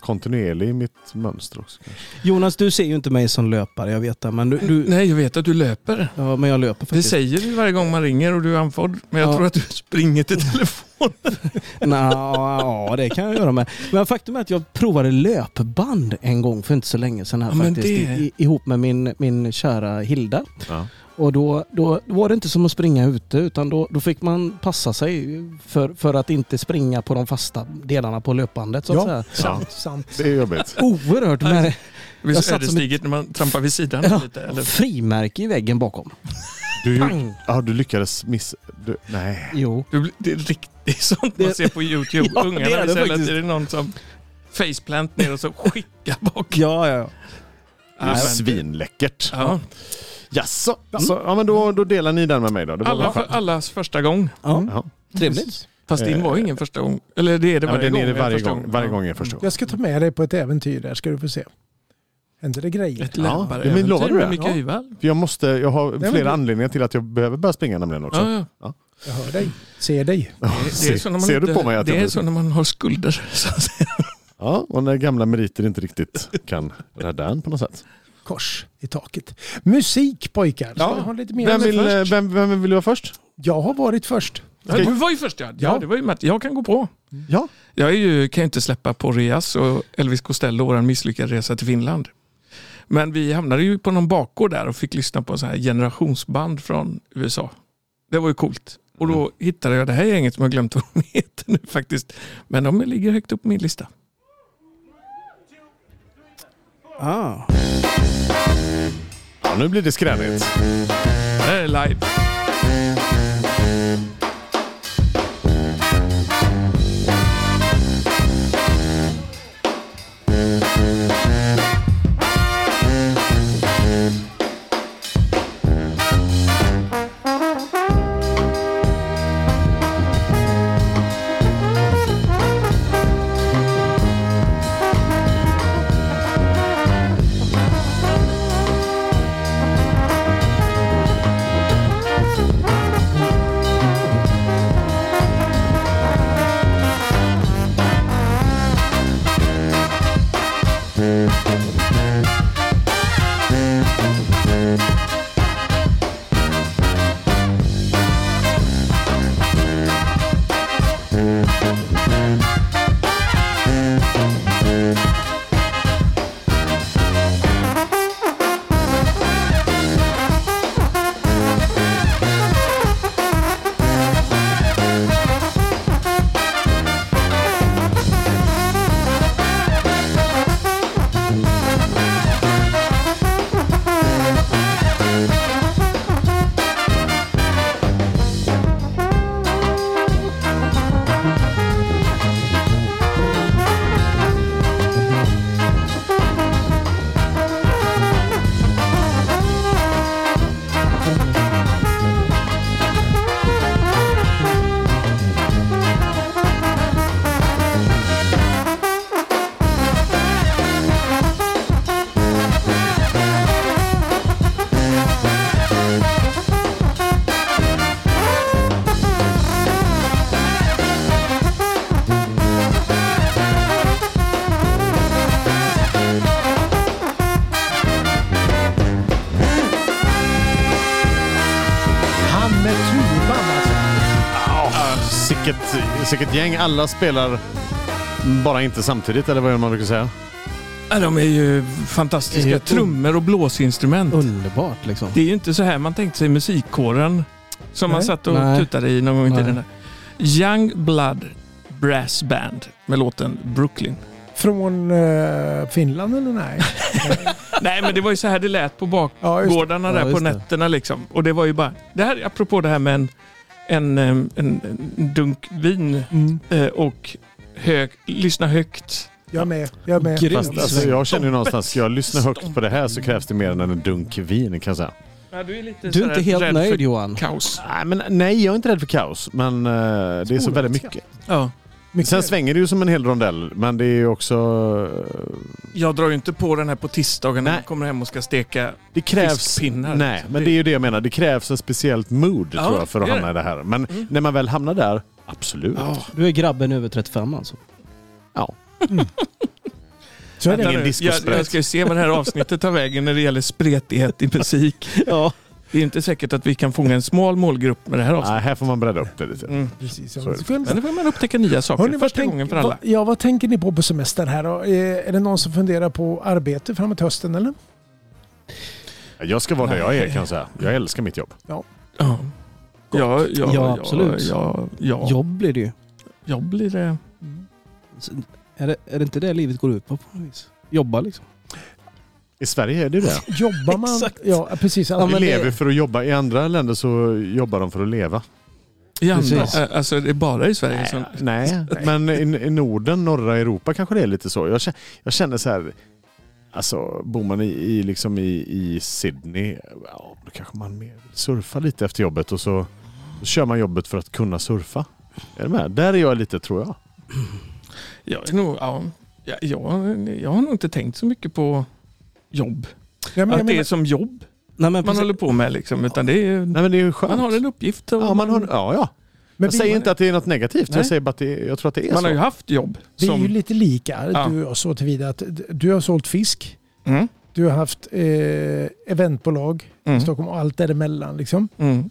S1: kontinuerlig i mitt mönster också? kanske?
S3: Jonas, du ser ju inte mig som löpare, jag vet det. Men, du, du,
S2: Nej, jag vet att du löper.
S3: ja, men jag löper
S2: Det
S3: faktiskt.
S2: säger du varje gång man ringer och du är andfådd. Men jag
S3: Ja.
S2: tror att du springer till telefonen.
S3: Nå, ja, det kan jag göra med. Men faktum är att jag provade löpband en gång för inte så länge sedan här
S2: Ja, men
S3: faktiskt.
S2: det-
S3: I, ihop med min, min kära Hilda.
S1: Ja.
S3: Och då, då var det inte som att springa ute utan då, då fick man passa sig för, för att inte springa på de fasta delarna på löpbandet. Så att
S4: Ja,
S3: säga.
S1: Ja.
S4: sant, sant.
S1: Det är [LAUGHS] jobbigt.
S3: Oerhört med Jag satt
S2: Visst
S3: som
S2: är det ödesdigert när man trampar vid sidan
S3: Ja.
S2: lite? Eller?
S3: frimärke i väggen bakom.
S1: Du,
S3: Pang!
S1: ja, du lyckades missa... Du, nej.
S3: Jo.
S2: Du, blir- det är riktigt sånt
S3: Det-
S2: man ser
S1: [LAUGHS]
S2: på YouTube.
S3: Ja, det är
S2: Ungarna
S3: det
S2: vill sällan att
S3: faktiskt.
S2: det är någon som faceplant ner och så skickar
S1: [LAUGHS]
S2: bak.
S3: Ja, ja.
S1: Det är
S2: Nej, men-
S1: svinläckert.
S2: Ja.
S1: Jaså? Mm. Så, ja, men då, då delar ni den med mig då. Det var
S2: Alla,
S1: alla
S2: för, allas första gång.
S4: Mm.
S3: ja.
S1: Ja.
S3: Trevligt.
S2: Fast din var
S1: Eh,
S2: ingen första gång. Eller det är det
S1: Ja, men
S2: varje
S1: den
S2: gång.
S1: är det
S2: är
S1: varje
S2: första
S1: gång. Varje gång är första gång.
S4: Jag ska ta med dig på ett äventyr där ska du få se. Händer det grejer?
S2: Ett
S1: Ja,
S2: löparäventyr
S1: men lovar du det?
S2: med Micke
S4: Ja.
S2: Öhvall.
S1: För Jag, måste, jag har
S4: men
S1: flera
S4: du-
S1: anledningar till att jag behöver börja springa nämligen också.
S2: Ja, ja.
S4: Jag hör dig, ser dig.
S2: Det är så när man
S1: ser
S2: inte,
S1: du på mig att
S2: det
S1: jag
S2: är så när man
S1: [LAUGHS]
S2: har skulder. så att säga.
S1: Ja, och när gamla meriter inte riktigt kan rädda en på något sätt.
S4: Kors i taket. Musik pojkar. Ska
S1: Ja.
S4: jag ha lite mer
S1: Vem
S4: med
S1: vill,
S4: först?
S1: vem, vem vill vara först?
S4: Jag har varit först.
S2: Ja, du var ju först ja. ja.
S4: Ja.
S2: det var ju Matt. Jag kan gå på.
S1: Ja.
S2: Jag är ju, kan ju inte släppa Porreas och Elvis Costello och en misslyckad resa till Finland. Men vi hamnade ju på någon bakgård där och fick lyssna på så här generationsband från USA. Det var ju coolt. Och
S3: Mm.
S2: då hittade jag det här gänget som jag glömt [LAUGHS] vad de heter nu faktiskt. Men de ligger högt upp på min lista.
S3: Ah.
S1: ja, nu blir det skränigt.
S2: Det här är live.
S4: Han med tuban alltså.
S1: Sicket, sicket gäng. Alla spelar bara inte samtidigt, eller vad gör man brukar säga?
S2: Ja, de är ju
S3: Det är
S2: fantastiska.
S3: ju-
S2: Trummor och blåsinstrument.
S3: Underbart liksom.
S2: Det är ju inte så här man tänkte sig musikkåren som man
S4: Nej.
S2: satt och
S3: Nej.
S2: tutade i någon gång i
S3: Nej.
S2: tiden. Young Blood Brass Band med låten Brooklyn.
S4: Från eh, Finland eller nej?
S2: Nej men det var ju så här det lät på
S4: Ja, just det.
S2: bakgårdarna
S3: Ja,
S2: där på
S3: just det.
S2: nätterna liksom. Och det var ju bara, det här, apropå det här med en, en, eh, en, en dunk vin
S4: Mm.
S2: eh, och hög, lyssna högt.
S4: Jag är med. Jag är med.
S3: Grymt.
S1: Fast alltså, jag känner ju någonstans, jag lyssnar högt på det här så krävs det mer än en dunk vin kan jag säga.
S2: Ja, du är, lite
S3: Du är inte helt nöjd Johan.
S2: Kaos.
S1: Nej, men, nej, jag är inte rädd för kaos, men eh, det är så väldigt mycket.
S2: Ja.
S4: Mycket.
S1: Sen svänger det ju som en hel rondell, men det är ju också... eh,
S2: Jag drar ju inte på den här på tisdagen när
S1: Nej.
S2: jag kommer hem och ska steka
S1: Det krävs...
S2: fiskpinnar.
S1: Nej, men det är ju det jag menar. Det krävs ett speciellt mood
S2: Ja,
S1: tror jag för att
S2: det är
S1: hamna i det här. Men
S2: Mm.
S1: när man väl hamnar där, absolut.
S2: Ja.
S3: Du är grabben över 35 alltså.
S4: Så är det.
S1: Ingen
S2: Vänta nu, jag,
S1: discospret.
S2: jag ska ju se vad det här avsnittet tar vägen när det gäller spretighet i musik.
S3: Ja.
S2: Det är inte säkert att vi kan fånga en smal målgrupp med det här avsnittet.
S1: Nej, här får man bredda upp det lite.
S2: Mm.
S4: Precis, om
S1: Så är
S4: en
S1: det.
S4: sekund.
S2: Men nu får man upptäcka nya saker
S4: Hörrni,
S2: första
S4: tänk-
S2: gången för alla.
S4: vad- ja, vad tänker ni på på semestern här då? Eh, Är det någon som funderar på arbete framåt hösten eller?
S1: Jag ska vara där jag är kan jag säga. Jag älskar mitt jobb.
S2: Ja. Ja, ja,
S3: Ja, absolut.
S2: Ja, ja, ja.
S3: Jobb blir det ju.
S2: Jag blir eh, det.
S3: Så, Är det, är det inte det livet går ut på på något vis? Jobba liksom.
S1: I Sverige är det ju det.
S4: Jobbar man?
S3: Exakt.
S4: Ja, precis.
S3: Ja,
S1: Vi
S3: men det-
S1: lever för att jobba. I andra länder så jobbar de för att leva.
S2: I andra,
S3: Precis.
S2: eh, alltså det är bara i Sverige som... [LAUGHS]
S1: Nej, alltså. men i, i Norden, norra Europa kanske det är lite så. Jag, kä- jag känner så här, alltså bor man i, i, liksom i, i Sydney, ja, då kanske man mer vill surfa lite efter jobbet och så, så kör man jobbet för att kunna surfa. Är du med? Där är jag lite tror jag.
S2: Jag, är nog, ja, jag, jag, jag har nog inte tänkt så mycket på jobb.
S4: Ja, men, jag
S2: att det är
S4: menar,
S2: som jobb
S3: Nej, men
S2: man
S3: precis.
S2: håller på med liksom. Utan det är,
S1: Nej men det är ju skönt.
S2: man har en uppgift. och
S1: ja, man har, ja, ja.
S4: men
S1: Jag säger
S4: vi,
S1: inte att det är något negativt.
S2: Nej.
S1: Jag säger bara att det, jag tror att det är
S2: man har ju
S1: så.
S2: haft jobb.
S4: vi är ju
S2: Som,
S4: lite lika
S2: Ja.
S4: du och jag så tillvida att d- du har sålt fisk,
S2: mm,
S4: du har haft eh, eventbolag i
S2: mm,
S4: Stockholm och allt däremellan. Liksom.
S2: mm.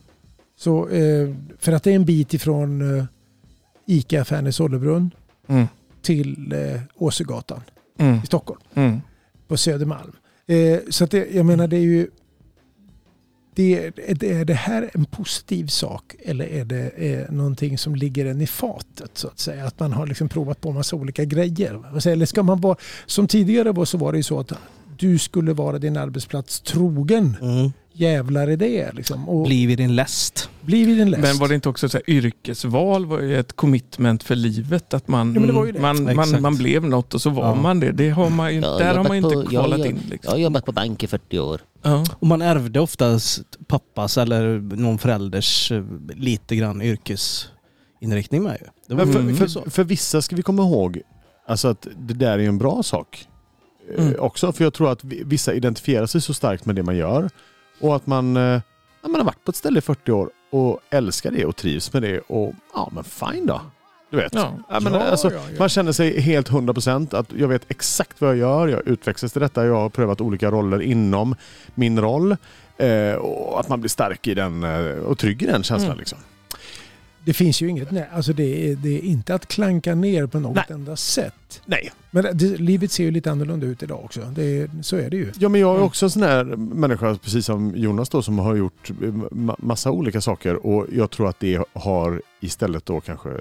S4: Så, eh, för att det är en bit ifrån eh, ICA-affären i Sollebrunn
S2: Mm.
S4: till eh, Åsögatan
S2: Mm.
S4: i Stockholm
S2: Mm.
S4: på Södermalm. Eh, så att det, jag menar det är ju... Det, är- det, är det här en positiv sak eller är det eh, någonting som ligger en i fatet så att säga? Att man har liksom provat på massa olika grejer. va? Eller ska man vara... Som tidigare var så var det ju så att du skulle vara din arbetsplats trogen.
S3: Mm.
S4: Jävlar i det liksom. Och bli,
S3: Bli vid din läst.
S4: vid din läst.
S2: Men var det inte också så här, yrkesval var ju ett commitment för livet? Att man,
S4: Ja, men det var ju det.
S2: man, man,
S3: Exakt.
S2: man blev något och så var
S6: Ja.
S2: man det. det har man ju,
S6: Ja,
S2: där
S6: jag
S2: har man ju
S6: var
S2: inte
S6: på- jag-
S2: kvalat in.
S6: Jag
S2: Liksom.
S6: har jobbat på bank i 40 år.
S2: Ja.
S3: Och man ärvde oftast pappas eller någon förälders eh, lite grann yrkesinriktning med ju. Det var
S1: Men för,
S2: Mm.
S1: för, för vissa ska vi komma ihåg alltså att det där är en bra sak eh,
S2: Mm.
S1: också. För jag tror att vi- vissa identifierar sig så starkt med det man gör. Och att man, eh, ja, man har varit på ett ställe i 40 år och älskar det och trivs med det. Och ja, men fine då. Du vet.
S2: Ja.
S1: Ja, men,
S4: Ja,
S1: alltså,
S4: ja, ja.
S1: Man känner sig helt 100 procent att jag vet exakt vad jag gör. Jag utvecklas till detta. Jag har prövat olika roller inom min roll. Eh, och att man blir stark i den eh, och trygg i den känslan.
S2: Mm.
S1: Liksom.
S4: Det finns ju inget... Nej, alltså det, är, det är inte att klanka ner på något
S1: Nej.
S4: enda sätt.
S1: Nej,
S4: Men det, livet ser ju lite annorlunda ut idag också. Det, är- så är det ju.
S1: Ja, men jag är
S2: Mm.
S1: också en sån här människa, precis som Jonas då, som har gjort eh, ma- massa olika saker och jag tror att det har istället då kanske eh,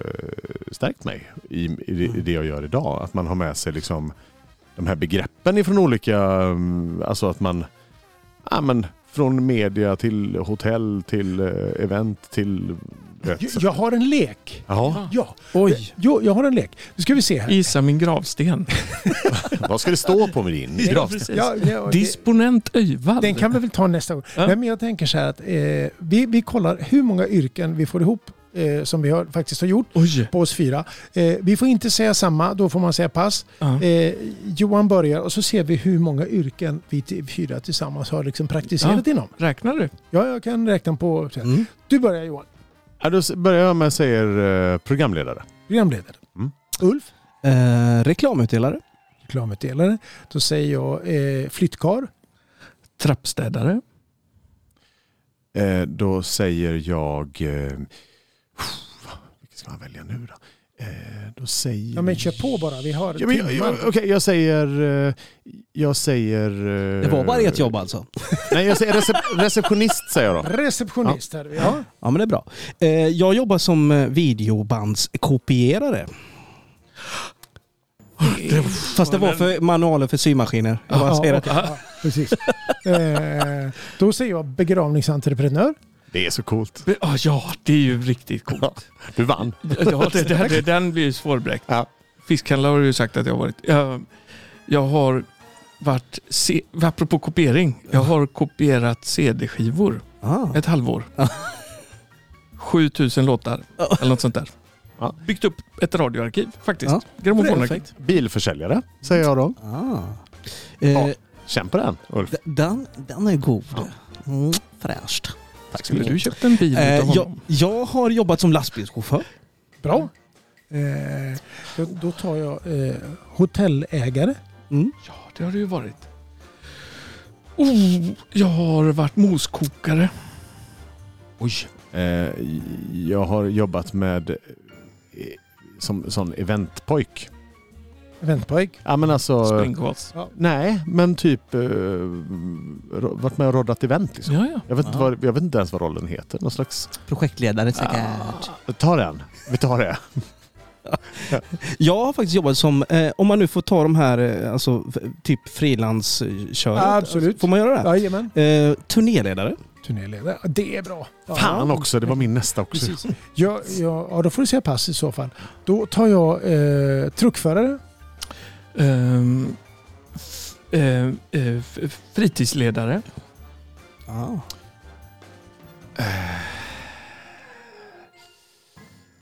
S1: stärkt mig i, i det- i det jag gör idag. Att man har med sig liksom de här begreppen ifrån olika, mm, alltså att man, ja men från media till hotell till eh, event till... Vet,
S4: Jag, jag har en lek.
S1: Jaha,
S4: Ja,
S2: Oj,
S4: jo, jag har en lek. Nu ska vi se här.
S2: isa min gravsten.
S1: vad ska det stå på din
S2: Ja,
S1: grav?
S2: precis.
S4: [LAUGHS] Ja, [LAUGHS] ja, det,
S2: Disponent Öjvall.
S4: den kan vi väl ta nästa gång.
S2: Ja.
S4: Nej, men jag tänker så här att eh, vi, vi kollar hur många yrken vi får ihop eh, som vi har, faktiskt har gjort
S2: Oj.
S4: på oss fyra. Eh, vi får inte säga samma, då får man säga pass.
S2: Ja.
S4: Eh, Johan börjar och så ser vi hur många yrken vi t- fyra tillsammans har liksom praktiserat inom.
S2: Räknar du?
S4: Ja, jag kan räkna på...
S3: Mm.
S4: Du börjar Johan,
S1: Ja, då s- börjar jag med att säga eh, programledare.
S4: programledare.
S1: Mm.
S4: Ulf,
S3: Eh, reklamutdelare.
S4: reklamutdelare. Då säger jag eh, flyttkar.
S2: Trappstädare.
S1: Eh, då säger jag... Eh, vilken ska man välja nu då? Eh, då säger...
S4: Ja, men kör på bara, vi har
S1: Ja, men jag, jag,
S4: timmar.
S1: okej, jag säger... Eh, jag säger... Eh,
S3: Det var bara ett jobb alltså.
S1: [LAUGHS] Nej, jag säger recep- receptionist säger jag då.
S4: Receptionist här. Ja.
S3: Ja men det är bra. Eh, jag jobbar som eh, videobandskopierare. Fast det var för manualer för symaskiner. Jag bara säger det.
S4: okej. Ja, precis. eh, då säger jag begravningsentreprenör.
S1: Det är så coolt.
S2: Be- ah, Ja, det är ju riktigt coolt.
S1: Du vann.
S2: Ja, det, det, det, den blir ju svårbräckt.
S1: Ja.
S2: Fiskhandlare har du ju sagt att jag har varit. Jag, jag har varit, se, apropå kopiering, jag har kopierat CD-skivor
S3: Ah.
S2: ett halvår. [LAUGHS] 7000 låtar
S3: Ja.
S2: eller något sånt där.
S1: Ja.
S2: Byggt upp ett radioarkiv faktiskt.
S3: Ja.
S2: Grammofonarkiv.
S3: Perfekt.
S1: Bilförsäljare säger jag då.
S3: Ah. Eh,
S1: Ja. Känn på den, Ulf.
S3: d- den, den är god. Mm, fräscht.
S1: Tack
S2: Skulle du köpt en bil
S3: Eh,
S2: utav
S3: jag,
S2: honom?
S3: jag har jobbat som lastbilschaufför.
S4: Bra. Eh, då, då tar jag eh, hotellägare.
S3: Mm.
S2: Ja, det har det ju varit. Oh, jag har varit moskokare.
S1: Oj. Eh, jag har jobbat med... Eh, som sån eventpojk.
S4: Eventpojk.
S1: Ja, men alltså...
S2: Springkvast.
S1: Nej, men typ eh, ro- varit med och roddat event liksom.
S2: Ja, ja.
S1: Jag vet, inte
S3: Ja.
S1: vad, jag vet inte ens vad rollen heter. Någon slags... Ah.
S3: Projektledare säkert.
S1: Ta den. Vi tar det.
S3: Jag har faktiskt jobbat som, eh, om man nu får ta de här, eh, alltså f- typ frilansköret.
S4: Absolut.
S3: Får man göra det?
S4: Jajamän.
S3: Eh, turnéledare.
S4: Turnéledare. Ja, Det är bra. Ja.
S1: Fan också, det var min nästa också.
S4: Precis. Jag, jag, ja, då får du säga pass i så fall. Då tar jag eh, truckförare.
S2: Ehm, f- ehm, eh, f- f- fritidsledare.
S3: Ah.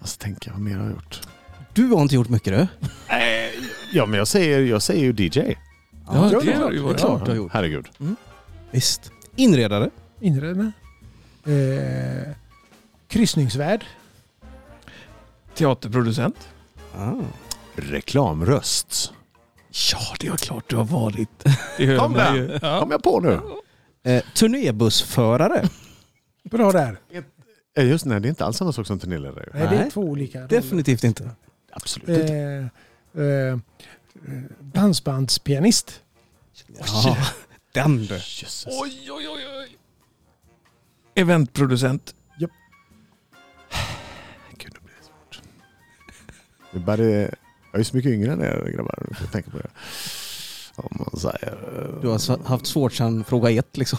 S1: Alltså tänk, vad mer har jag gjort?
S3: Du har inte gjort mycket du.
S1: Ja, men jag säger, jag säger ju DJ.
S2: Ja,
S4: det
S2: det
S4: är
S2: har du ju
S4: klart.
S2: varit.
S3: Det är klart du har gjort.
S1: Herregud.
S3: Ah. Visst. Inredare.
S4: Inredare. Eh, kryssningsvärd.
S2: Teaterproducent.
S3: Ah.
S1: Reklamröst.
S2: Ja, det är klart du har varit. [LAUGHS] Det hör
S1: Kom
S2: man
S1: där.
S2: ju. Ja.
S1: Kom jag på nu?
S3: Eh, turnébussförare.
S4: Bra där.
S1: Eh, Just nej, det är inte alls samma sak som turnéledare. ju.
S4: Nej, det är
S3: Nej.
S4: två olika roller.
S3: Definitivt inte.
S1: Absolut inte.
S4: Eh, eh, dansbandspianist.
S3: Ja, [LAUGHS] den du.
S1: Jesus.
S2: Oj, oj, oj, oj. Eventproducent.
S1: Gud, det blir svårt. Det bara, jag är ju så mycket yngre än er grabbar. Jag tänker på det. Om man säger... eh,
S3: Du har s- haft svårt sedan fråga ett liksom.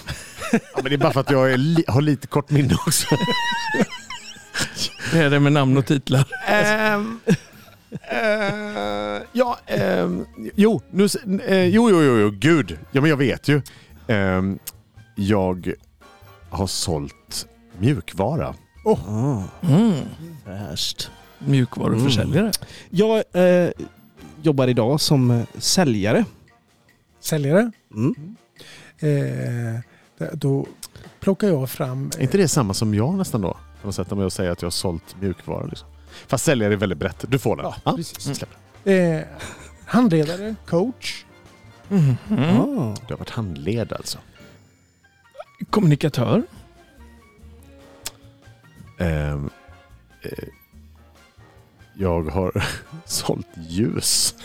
S1: Ja, men det är bara för att jag är li, har lite kort minne också.
S2: Det är det med namn och titlar.
S1: Ehm, eh, ja, ehm, jo, nu, s- eh, jo, jo, jo, jo, gud. Ja, men jag vet ju. Ehm, jag har sålt mjukvara.
S3: Ah,
S2: Mm.
S3: fräscht.
S2: Mjukvaruförsäljare.
S3: Jag eh, jobbar idag som eh, säljare.
S4: Säljare.
S3: Mm.
S4: Eh, där- då plockar jag fram... eh,
S1: Är inte det samma som jag nästan då? På något sätt om jag säger att jag har sålt mjukvara. Liksom. Fast säljare är väldigt brett. Du får den.
S4: Ja,
S1: Ja,
S4: precis.
S1: släpp den.
S4: Eh, handledare, coach.
S2: Mm.
S3: Ah.
S1: Du har varit handled alltså.
S2: Kommunikatör.
S1: Ehm, eh, jag har [LAUGHS] sålt ljus.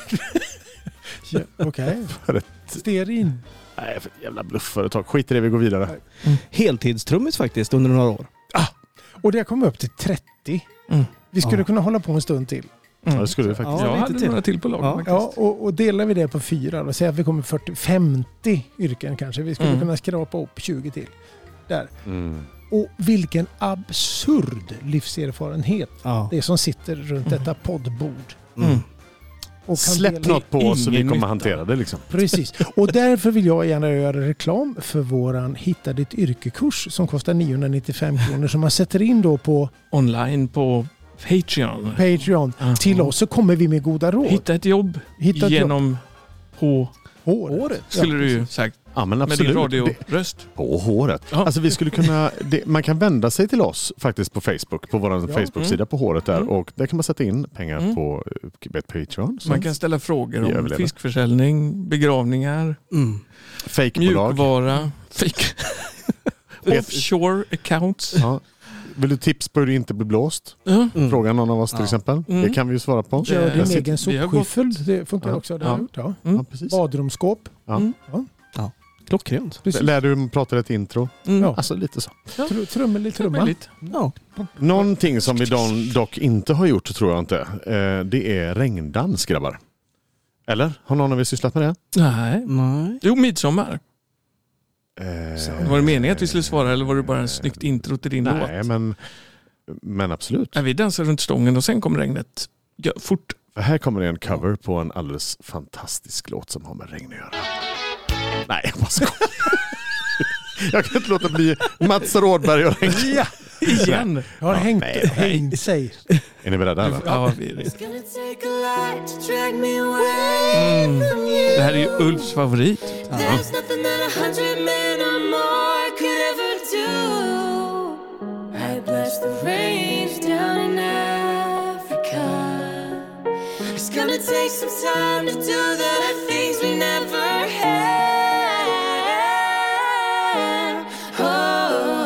S4: Ja, Okej.
S1: För ett-
S4: Stearin.
S1: Nej, för ett jävla bluffföretag. Skit i det, vi går vidare.
S3: Heltidstrummis faktiskt under några år.
S4: Och det kom upp till 30.
S2: Mm.
S4: Vi skulle
S3: Ja.
S4: kunna hålla på en stund till.
S2: Mm.
S1: Ja, det skulle vi faktiskt.
S3: Ja,
S2: jag
S3: lite
S2: hade
S3: till.
S2: några till på lag.
S3: Ja.
S2: faktiskt.
S4: Ja, och, och delar vi det på fyra och säger att vi kommer 40, 50 yrken kanske. Vi skulle
S2: Mm.
S4: kunna skrapa upp 20 till. Där.
S1: Mm.
S4: Och vilken absurd livserfarenhet
S3: Ja.
S4: det är som sitter runt
S2: Mm.
S4: detta poddbord.
S3: Mm.
S2: Mm.
S4: Och kan
S1: Släpp
S4: dela-
S1: något på oss så vi
S2: ingen
S1: kommer
S2: nytta.
S1: hantera det. Liksom.
S4: Precis. Och därför vill jag gärna göra reklam för våran Hitta ditt yrkekurs som kostar 995 kronor som man sätter in då på
S2: Online på Patreon.
S4: Patreon.
S2: Ja.
S4: Till oss så kommer vi med goda råd.
S2: Hitta ett jobb
S4: Hitta ett jobb.
S2: Mm. genom på
S4: Håret.
S2: skulle du ju
S4: precis.
S2: sagt.
S1: Ja, men
S2: Med din
S1: absolut. Det-
S2: radioröst.
S1: På håret.
S2: Ja.
S1: Alltså, vi skulle kunna, det, man kan vända sig till oss faktiskt på Facebook, på vår Facebook-sida på håret där.
S2: Mm.
S1: Och där kan man sätta in pengar
S2: Mm.
S1: på eh, Patreon. Så
S2: Man kan ställa
S1: Vi
S2: frågor om
S1: överlever.
S2: fiskförsäljning, begravningar,
S3: Mm.
S1: Fejkbolag.
S2: mjukvara, [LAUGHS] fik- offshore accounts.
S1: Ja. Vill du tips på hur du inte blir blåst?
S2: Ja.
S3: Mm.
S1: Fråga någon av oss till
S3: Ja.
S1: exempel.
S2: Mm.
S1: Det kan vi ju svara på.
S2: Eh,
S4: Kör
S2: jag
S4: din
S2: sitter-
S4: egen
S2: vi har gått-
S4: sopskyffel. Det funkar
S1: Ja.
S4: också. Det har jag
S2: Ja.
S4: gjort, ja.
S1: Ja, precis.
S4: Badrumsskåp.
S3: Klockrent.
S4: Precis.
S1: Lär du prata ett intro?
S2: Mm.
S4: Ja.
S1: Alltså lite så.
S4: Tr- Trummel i
S2: Det är
S4: trumma.
S2: möjligt.
S3: Ja.
S1: Någonting som vi don- dock inte har gjort tror jag inte. Eh, det är regndans grabbar. Eller? Har någon av er sysslat med det?
S2: Nej.
S3: Nej.
S2: Jo, midsommar.
S1: Eh,
S2: Var det meningen att vi skulle svara eller var det bara ett snyggt intro till din låt?
S1: Nej, men, men absolut.
S2: Nej, vi dansar runt stången och sen kom regnet. Ja, fort.
S1: För här kommer det en cover på en alldeles fantastisk låt som har med regn att göra. Nej, jag bara skojar. [LAUGHS] Jag kan inte låta bli Mats Rådberg och regn.
S4: Ja,
S2: Igen.
S4: jag har hängt,
S1: nej, nej.
S4: hängt sig.
S1: Är ni beredda? Eller?
S2: Ja, vi är redo.
S6: It's gonna take a light to drag me away from you.
S2: Mm. Det här är ju Ulfs favorit.
S6: There's nothing that a hundred men or more could ever do. I bless the rains down in Africa. It's gonna take some time to do the things we never had. Oh.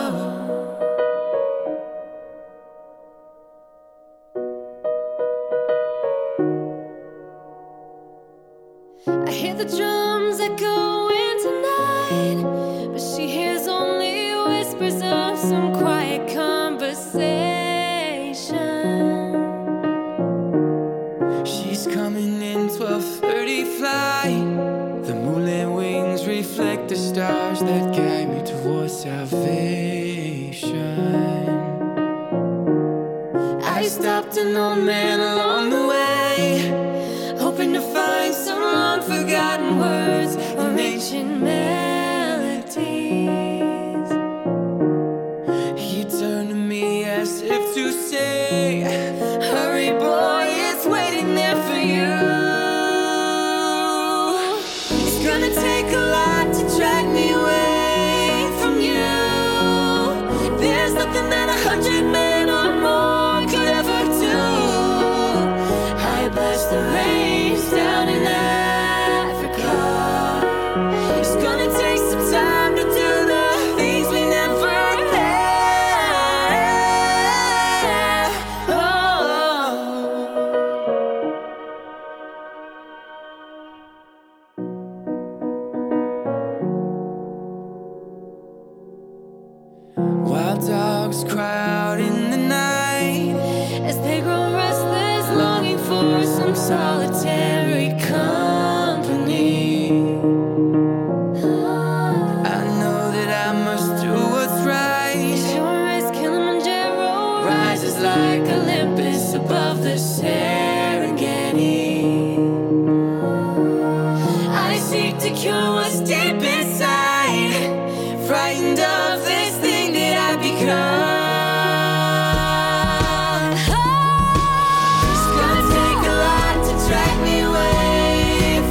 S6: I hear the drums echoing tonight, but she hears only whispers of some quiet conversation.
S7: She's coming in 12:30 flight. The moonlit wings reflect the stars that guide me towards salvation.
S6: I stopped an old man along the way, hoping to find some long forgotten words from ancient melodies.
S7: He turned to me as if to say,
S6: Hurry, boy, it's waiting there for you. It's gonna take a lot to drag me away from you. There's nothing that a hundred men or more could ever do. I bless the rains down in Africa. It's gonna take. Oh. in solitary company.
S7: I know that I must do what's right.
S6: Sure as Kilimanjaro rises like Olympus above the Serengeti. I seek to cure what's deep inside, frightened of this thing that I become. Oh. It's gonna take a lot to drag me away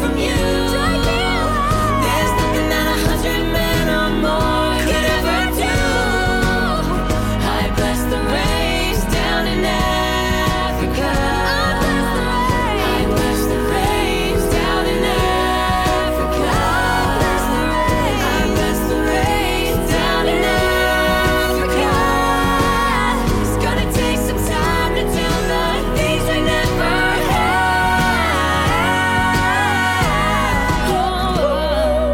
S6: from you. There's nothing that a hundred men or more could ever do. I bless the rains down in Africa. I bless the rains down in Africa. I bless the rains down in Africa. It's gonna take some time to do the things we never had.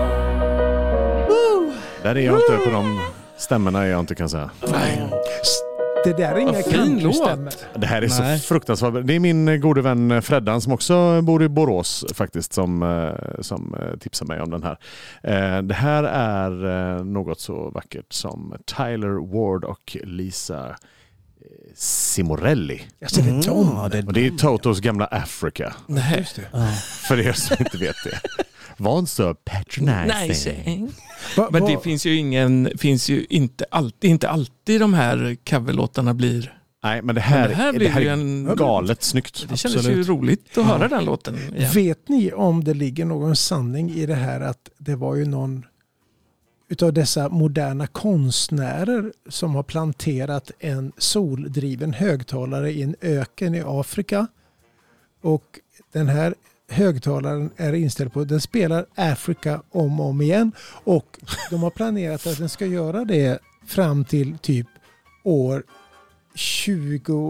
S1: Där är jag inte på de stämmorna jag inte kan säga.
S4: Det där är inga
S2: Vad fin låt.
S4: countrystämmor.
S1: Det här är
S3: Nej.
S1: så fruktansvärt bra. Det är min eh, gode vän eh, Freddan som också bor i Borås faktiskt som, eh, som eh, tipsar mig om den här. Eh, Det här är eh, något så vackert som Tyler Ward och Lisa eh, Simorelli.
S4: Alltså
S2: Mm.
S4: det är Tom.
S3: Ja, det,
S1: Och det är Totos gamla Africa.
S2: Nej.
S3: ja.
S1: För er som inte vet det. Var inte så patronizing.
S4: Va,
S2: Men
S4: va,
S2: det finns ju ingen, finns ju inte alltid, inte alltid de här coverlåtarna blir.
S1: Nej, men det
S2: Men
S1: här,
S2: det här
S1: det
S2: blir
S1: här
S2: ju
S1: är
S2: en-
S1: galet snyggt.
S2: Det kändes
S3: Absolut.
S2: ju roligt att höra den låten. igen.
S4: Vet ni om det ligger någon sanning i det här att det var ju någon utav dessa moderna konstnärer som har planterat en soldriven högtalare i en öken i Afrika. Och den här högtalaren är inställd på, den spelar Afrika om och om igen. Och de har planerat att den ska göra det fram till typ år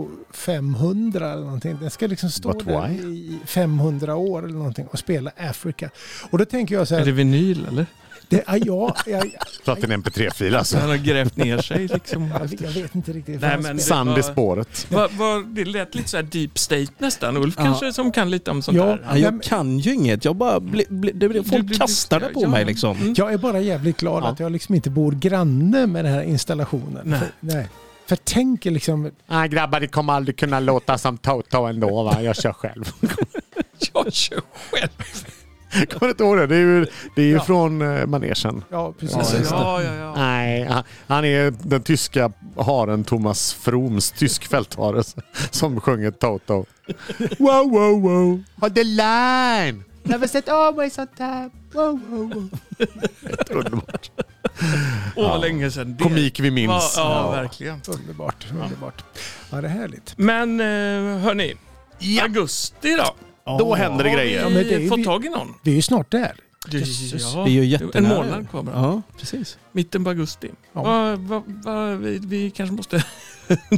S4: 2500 eller någonting. Den ska liksom stå
S1: But
S4: där
S1: why?
S4: i 500 år eller någonting och spela Afrika. Och då tänker jag så
S2: Är det
S4: här,
S2: vinyl eller?
S4: det, ja, jag, jag,
S1: Så att det är en mp3-fil alltså.
S2: Så han har grävt ner sig liksom.
S4: jag, vet- jag vet inte riktigt.
S2: Nej,
S4: vad han
S2: men-
S4: spelar.
S1: Sand i spåret.
S2: Va, va, det lät lite så här deep state nästan. Ulf
S3: Ja.
S2: kanske som kan lite om sånt
S4: Ja.
S2: där.
S3: Ja, jag kan ju inget. Jag bara bli, bli, det, blir-
S2: Du- du-
S3: folk
S2: du-
S3: kastar det på
S2: ja,
S3: mig
S2: ja.
S3: liksom.
S2: Mm.
S4: jag är bara jävligt glad
S3: Ja.
S4: att jag liksom inte bor granne med den här installationen.
S2: Nej.
S4: För, nej. För tänk er liksom,
S1: Nej grabbar, det kommer aldrig kunna låta som Toto ändå va? Jag kör själv.
S2: [LAUGHS] Jag kör själv.
S1: kommer inte ihåg det. Det är ju, det är ju
S4: Ja.
S1: från eh, manegen.
S4: ja
S1: Ja,
S4: precis.
S1: just det.
S2: Ja, ja, ja.
S1: Nej, han- han är den tyska haren Thomas Froms tysk fälthare som sjunger Toto. Wow, wow, wow. Hold the line! Never "Oh, set always on time. Wow, wow, [LAUGHS] wow. Helt underbart.
S2: Åh, vad
S1: Ja.
S2: länge sedan det
S1: Komik vi
S2: var.
S1: minns.
S2: Ja, verkligen.
S4: Underbart, underbart. Ja, det är härligt.
S2: Men eh, hörni, augusti då?
S1: Då händer det grejer.
S4: men det är
S2: Har
S4: ju
S2: vi fått
S4: vi-
S2: tag i någon?
S4: Vi är ju snart där.
S2: Ja,
S3: Det är ju jättenära.
S2: En månad kvar bara.
S3: Ja, precis.
S2: Mitten på augusti.
S4: Ja.
S2: Va, va, va, vi, vi kanske måste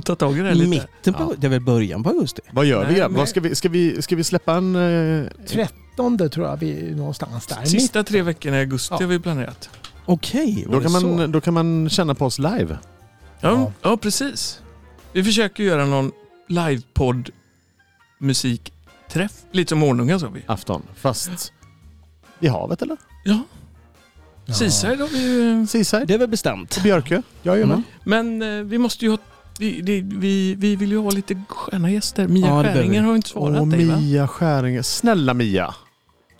S2: ta tag i det här lite.
S3: Mitten på,
S1: Ja.
S3: det är väl början på augusti?
S1: Vad gör vi?
S2: Nej,
S1: grabbar?
S2: men-
S1: Ska vi, ska, vi, ska vi släppa en... eh,
S4: 13 tror jag vi är någonstans där.
S2: Sista tre veckorna i augusti
S4: Ja.
S2: har vi planerat.
S3: Okej, var
S1: Då
S3: det
S1: kan,
S3: så?
S1: man, då kan man känna på oss live.
S2: Ja,
S4: Ja.
S2: ja. precis. Vi försöker göra någon livepodd musikträff. Lite som Ornunga sa vi.
S1: afton. Fast i havet eller?
S2: Ja,
S4: Ja.
S2: Seaside har vi ju.
S1: Seaside?
S3: Det är väl bestämt?
S1: Björkö?
S4: Jajamän.
S2: Men eh, vi måste ju ha... Vi, det, vi, vi vill ju ha lite sköna gäster. Mia
S3: Ja, det behöver
S2: Skäringer
S3: vi.
S2: har ju inte svarat
S1: Och
S2: dig va?
S1: Mia Skäringer. Snälla Mia.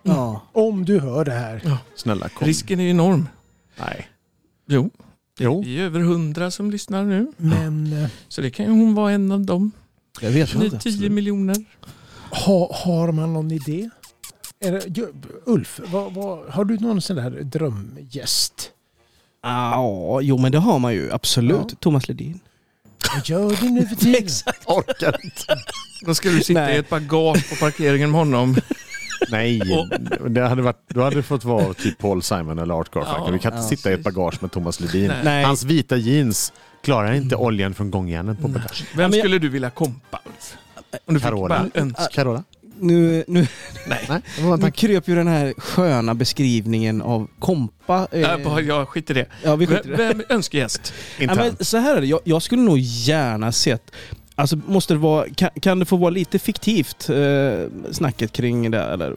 S3: Ja.
S4: Om du hör det här.
S1: Snälla kom.
S2: Risken är ju enorm.
S1: Nej.
S2: Jo, [LAUGHS]
S1: Jo.
S2: vi är över hundra som lyssnar nu.
S4: Men eh,
S2: Så det kan ju hon vara en av dem.
S3: Jag vet
S2: Ni
S3: inte.
S2: 10 miljoner.
S4: ha, har man någon idé? Är det, ju- Ulf, vad, vad, har du någon sån där drömgäst?
S3: Ja, jo men det har man ju absolut.
S4: Ja.
S3: Thomas Ledin.
S4: Vad gör du nu
S3: [LAUGHS]
S4: för tiden?
S1: Orkar inte.
S2: Då ska du sitta
S3: Nej.
S2: i ett bagage på parkeringen
S3: [LAUGHS]
S2: med honom.
S1: Nej. Det hade varit, då hade det fått vara typ Paul Simon eller Art Garfunkel.
S2: Ja.
S1: Vi kan inte
S3: Ja,
S1: sitta i ett bagage med Thomas Ledin.
S2: Nej.
S3: Nej.
S1: Hans vita jeans klarar inte oljan från gångjärnen på bagaget.
S3: men
S2: Vem
S3: jag-
S2: skulle du vilja kompa? Ulf? Om du fick
S1: Carola.
S2: bara önska.
S1: Carola?
S3: Nu, nu,
S1: Nej, det var en
S3: nu
S1: tanke.
S3: kröp ju den här sköna beskrivningen av kompa. eh,
S2: Äh, bara, jag skiter i det.
S3: ja, vi skiter i det.
S1: Mm.
S2: Vem, vem önskar gäst?
S3: Ja,
S1: Intern.
S3: men så här är det. Jag, jag skulle nog gärna sett Alltså måste det vara, kan, kan det få vara lite fiktivt eh, snacket kring det eller?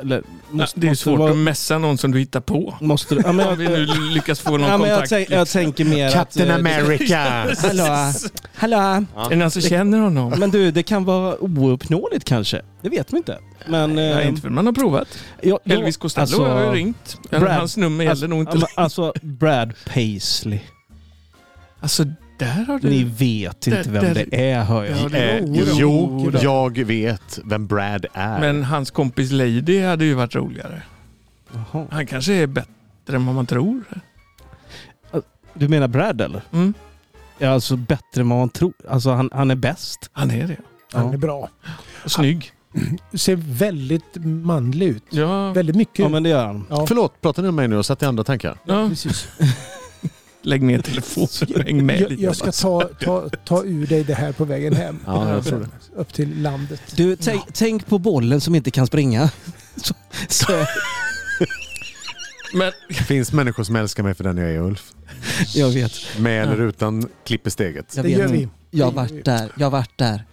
S3: eller måste,
S2: det är ju
S3: måste
S2: svårt
S3: vara-
S2: att mässa någon som du hittar på.
S3: Måste, ja, men,
S2: Om [LAUGHS] vi nu lyckas få någon
S3: ja, men jag,
S2: kontakt.
S3: tänk, jag tänker mer
S1: Captain
S3: att... eh,
S1: America!
S3: Hallå, hallå.
S2: Är det någon som känner honom?
S3: Men du, det kan vara ouppnåeligt kanske. Det vet vi inte. Men... eh,
S2: Nej, inte förrän man har provat.
S3: ja, ja,
S2: Elvis Costello
S3: alltså-
S2: har ju ringt. Men
S3: Brad-
S2: Hans nummer gäller
S3: Alltså,
S2: nog
S3: ja,
S2: inte.
S3: men alltså Brad Paisley.
S2: Alltså, där har du...
S3: Ni vet inte
S2: det-
S3: vem
S2: det-
S3: det är hör jag.
S2: Ja, [LAUGHS] det-
S1: Eh,
S2: Jo,
S1: jo,
S2: då.
S1: jag vet vem Brad är.
S2: Men hans kompis Lady hade ju varit roligare.
S3: Jaha.
S2: Han kanske är bättre än vad man tror.
S3: Du menar Brad eller?
S2: Mm,
S3: Ja, alltså bättre än vad man tror. Alltså han, han är bäst.
S2: han är det.
S4: Han
S3: Ja.
S4: är bra.
S2: Snygg.
S4: Ser väldigt manlig ut.
S2: Ja,
S4: Väldigt mycket.
S3: Ja men det gör han.
S4: Ja.
S1: Förlåt, pratar ni om mig nu och satt i andra [LAUGHS] tankar?
S2: ja.
S4: Precis.
S2: Lägg ner
S4: [LAUGHS]
S2: telefonen och häng med
S4: Jag,
S2: lite.
S4: jag ska ta, ta, ta ur dig det här på vägen hem.
S1: Ja, jag tror det.
S4: Upp till landet.
S3: Du, tänk, tänk på bollen som inte kan springa. [LAUGHS] Så, så,
S2: Men
S1: Det finns människor som älskar mig för den jag är Ulf.
S3: jag vet.
S1: Med eller utan klipp i steget.
S3: Jag
S4: Det
S3: vet.
S4: gör vi.
S3: Jag har varit där. Jag har varit där.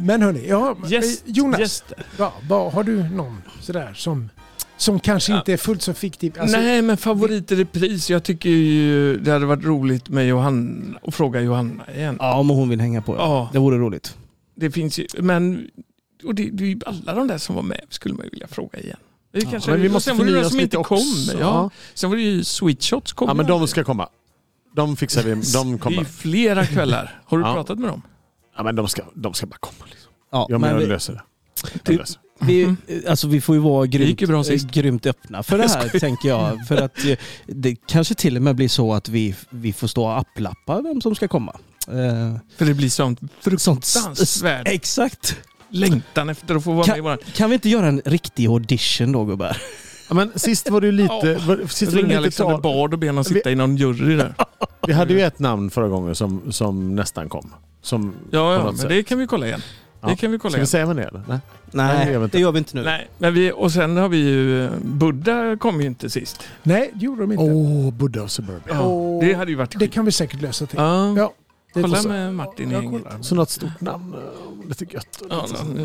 S4: Men hörni, ja,
S2: gäst,
S4: eh, Jonas,
S2: gäst.
S4: ja, vad har du någon sådär som, som kanske
S2: Ja.
S4: inte är fullt så fiktiv? Alltså,
S2: Nej, men favorit i repris. Jag tycker ju det hade varit roligt med Johanna och fråga Johanna igen.
S3: Ja, men hon vill hänga på.
S2: Ja.
S3: Det vore roligt.
S2: Det finns ju, men och det, det är ju alla de där som var med skulle man ju vilja fråga igen. Det är kanske,
S1: men vi
S2: och
S1: måste
S2: sen var det
S1: förnya
S2: några
S1: oss
S2: som inte
S1: lite
S2: kom.
S1: också.
S2: Ja. Sen var det ju Sweet Shots kom
S1: Ja, men
S2: ju
S1: de
S2: aldrig.
S1: ska komma. De fixar vi. De
S2: Det är ju
S1: kommer.
S2: flera kvällar. Har du
S1: Ja.
S2: pratat med dem?
S1: Ja, men de ska, de ska bara komma. Liksom.
S3: Ja,
S1: Jag
S3: men
S1: menar,
S3: vi-
S1: jag löser det. Jag
S3: Du-
S1: löser. det.
S3: Vi, alltså, vi får ju vara
S2: Det gick
S3: grymt,
S2: ju bra sist.
S3: eh, grymt öppna för det här, tänker jag. För att eh, det kanske till och med blir så att vi, vi får stå och applappa vem som ska komma. Eh,
S2: För det blir sånt
S3: sånt
S2: fruktansvärt
S3: Exakt.
S2: längtan efter att få vara med i våran...
S3: Kan vi inte göra en riktig audition då, gubbar?
S1: Ja, men sist var det ju lite...
S2: Ja.
S1: Var, sist var
S2: Ringa
S1: det lite
S2: Alexander
S1: tal.
S2: Bard och be honom sitta i någon jury där.
S1: Vi hade ju ett namn förra gången som, som nästan kom. Som,
S2: Ja,
S1: på
S2: ja
S1: något
S2: men
S1: sätt.
S2: det kan vi kolla igen.
S1: Ja.
S2: Det kan vi kolla
S1: Ska vi
S2: igen.
S1: säga vem det är? eller? Nej. det gör vi
S3: Nej,
S1: inte.
S3: det gör vi inte nu.
S2: Nej, men vi, och sen har vi ju... Buddha kom ju inte sist.
S4: Nej, det gjorde de inte.
S1: Åh, oh, Buddha och Suburbia.
S4: Och
S2: Det hade ju varit
S4: det
S2: skit.
S4: kan vi säkert lösa till.
S2: Ja,
S4: Ja, det
S2: kolla
S4: får-
S2: med Martin i
S4: Jag
S2: gänget.
S4: kollar.
S1: Så något stort namn. eh, Lite gött.
S2: Ja,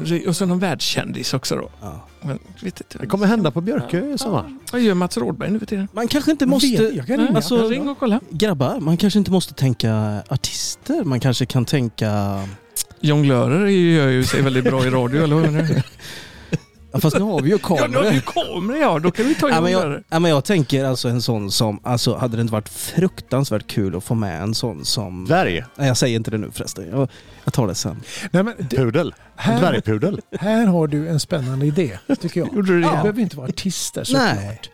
S2: någon- och så någon världskändis också då.
S3: Ja.
S2: Men, vet inte.
S1: Det kommer hända på Björkö i sommar.
S2: Vad gör Mats Rådberg nu för tiden?
S3: Man kanske inte
S4: Jag vet,
S3: måste...
S4: jag kan
S2: Nej,
S4: ringa.
S3: alltså-
S2: ring och kolla.
S3: Grabbar, man kanske inte måste tänka artister. Man kanske kan tänka...
S2: Jonglörer gör ju sig väldigt bra i radio, eller vad menar
S1: [LAUGHS]
S2: du?
S3: Ja, fast nu har vi ju
S2: Ja, nu har vi
S3: kameror.
S2: ju kameror ja, då kan vi ta
S3: Ja, men jag,
S2: jonglörer.
S3: ja, men jag tänker alltså en sån som, alltså hade det inte varit fruktansvärt kul att få med en sån som...
S1: Dvärg.
S3: Nej, jag säger inte det nu förresten. Jag, jag tar det sen.
S4: Nej, men det,
S1: Pudel.
S4: här,
S1: Dvärgpudel.
S4: här har du en spännande idé, tycker jag.
S2: [LAUGHS] Gjorde du det
S4: Det
S2: igen?
S4: behöver inte vara artister
S3: Nej.
S4: såklart.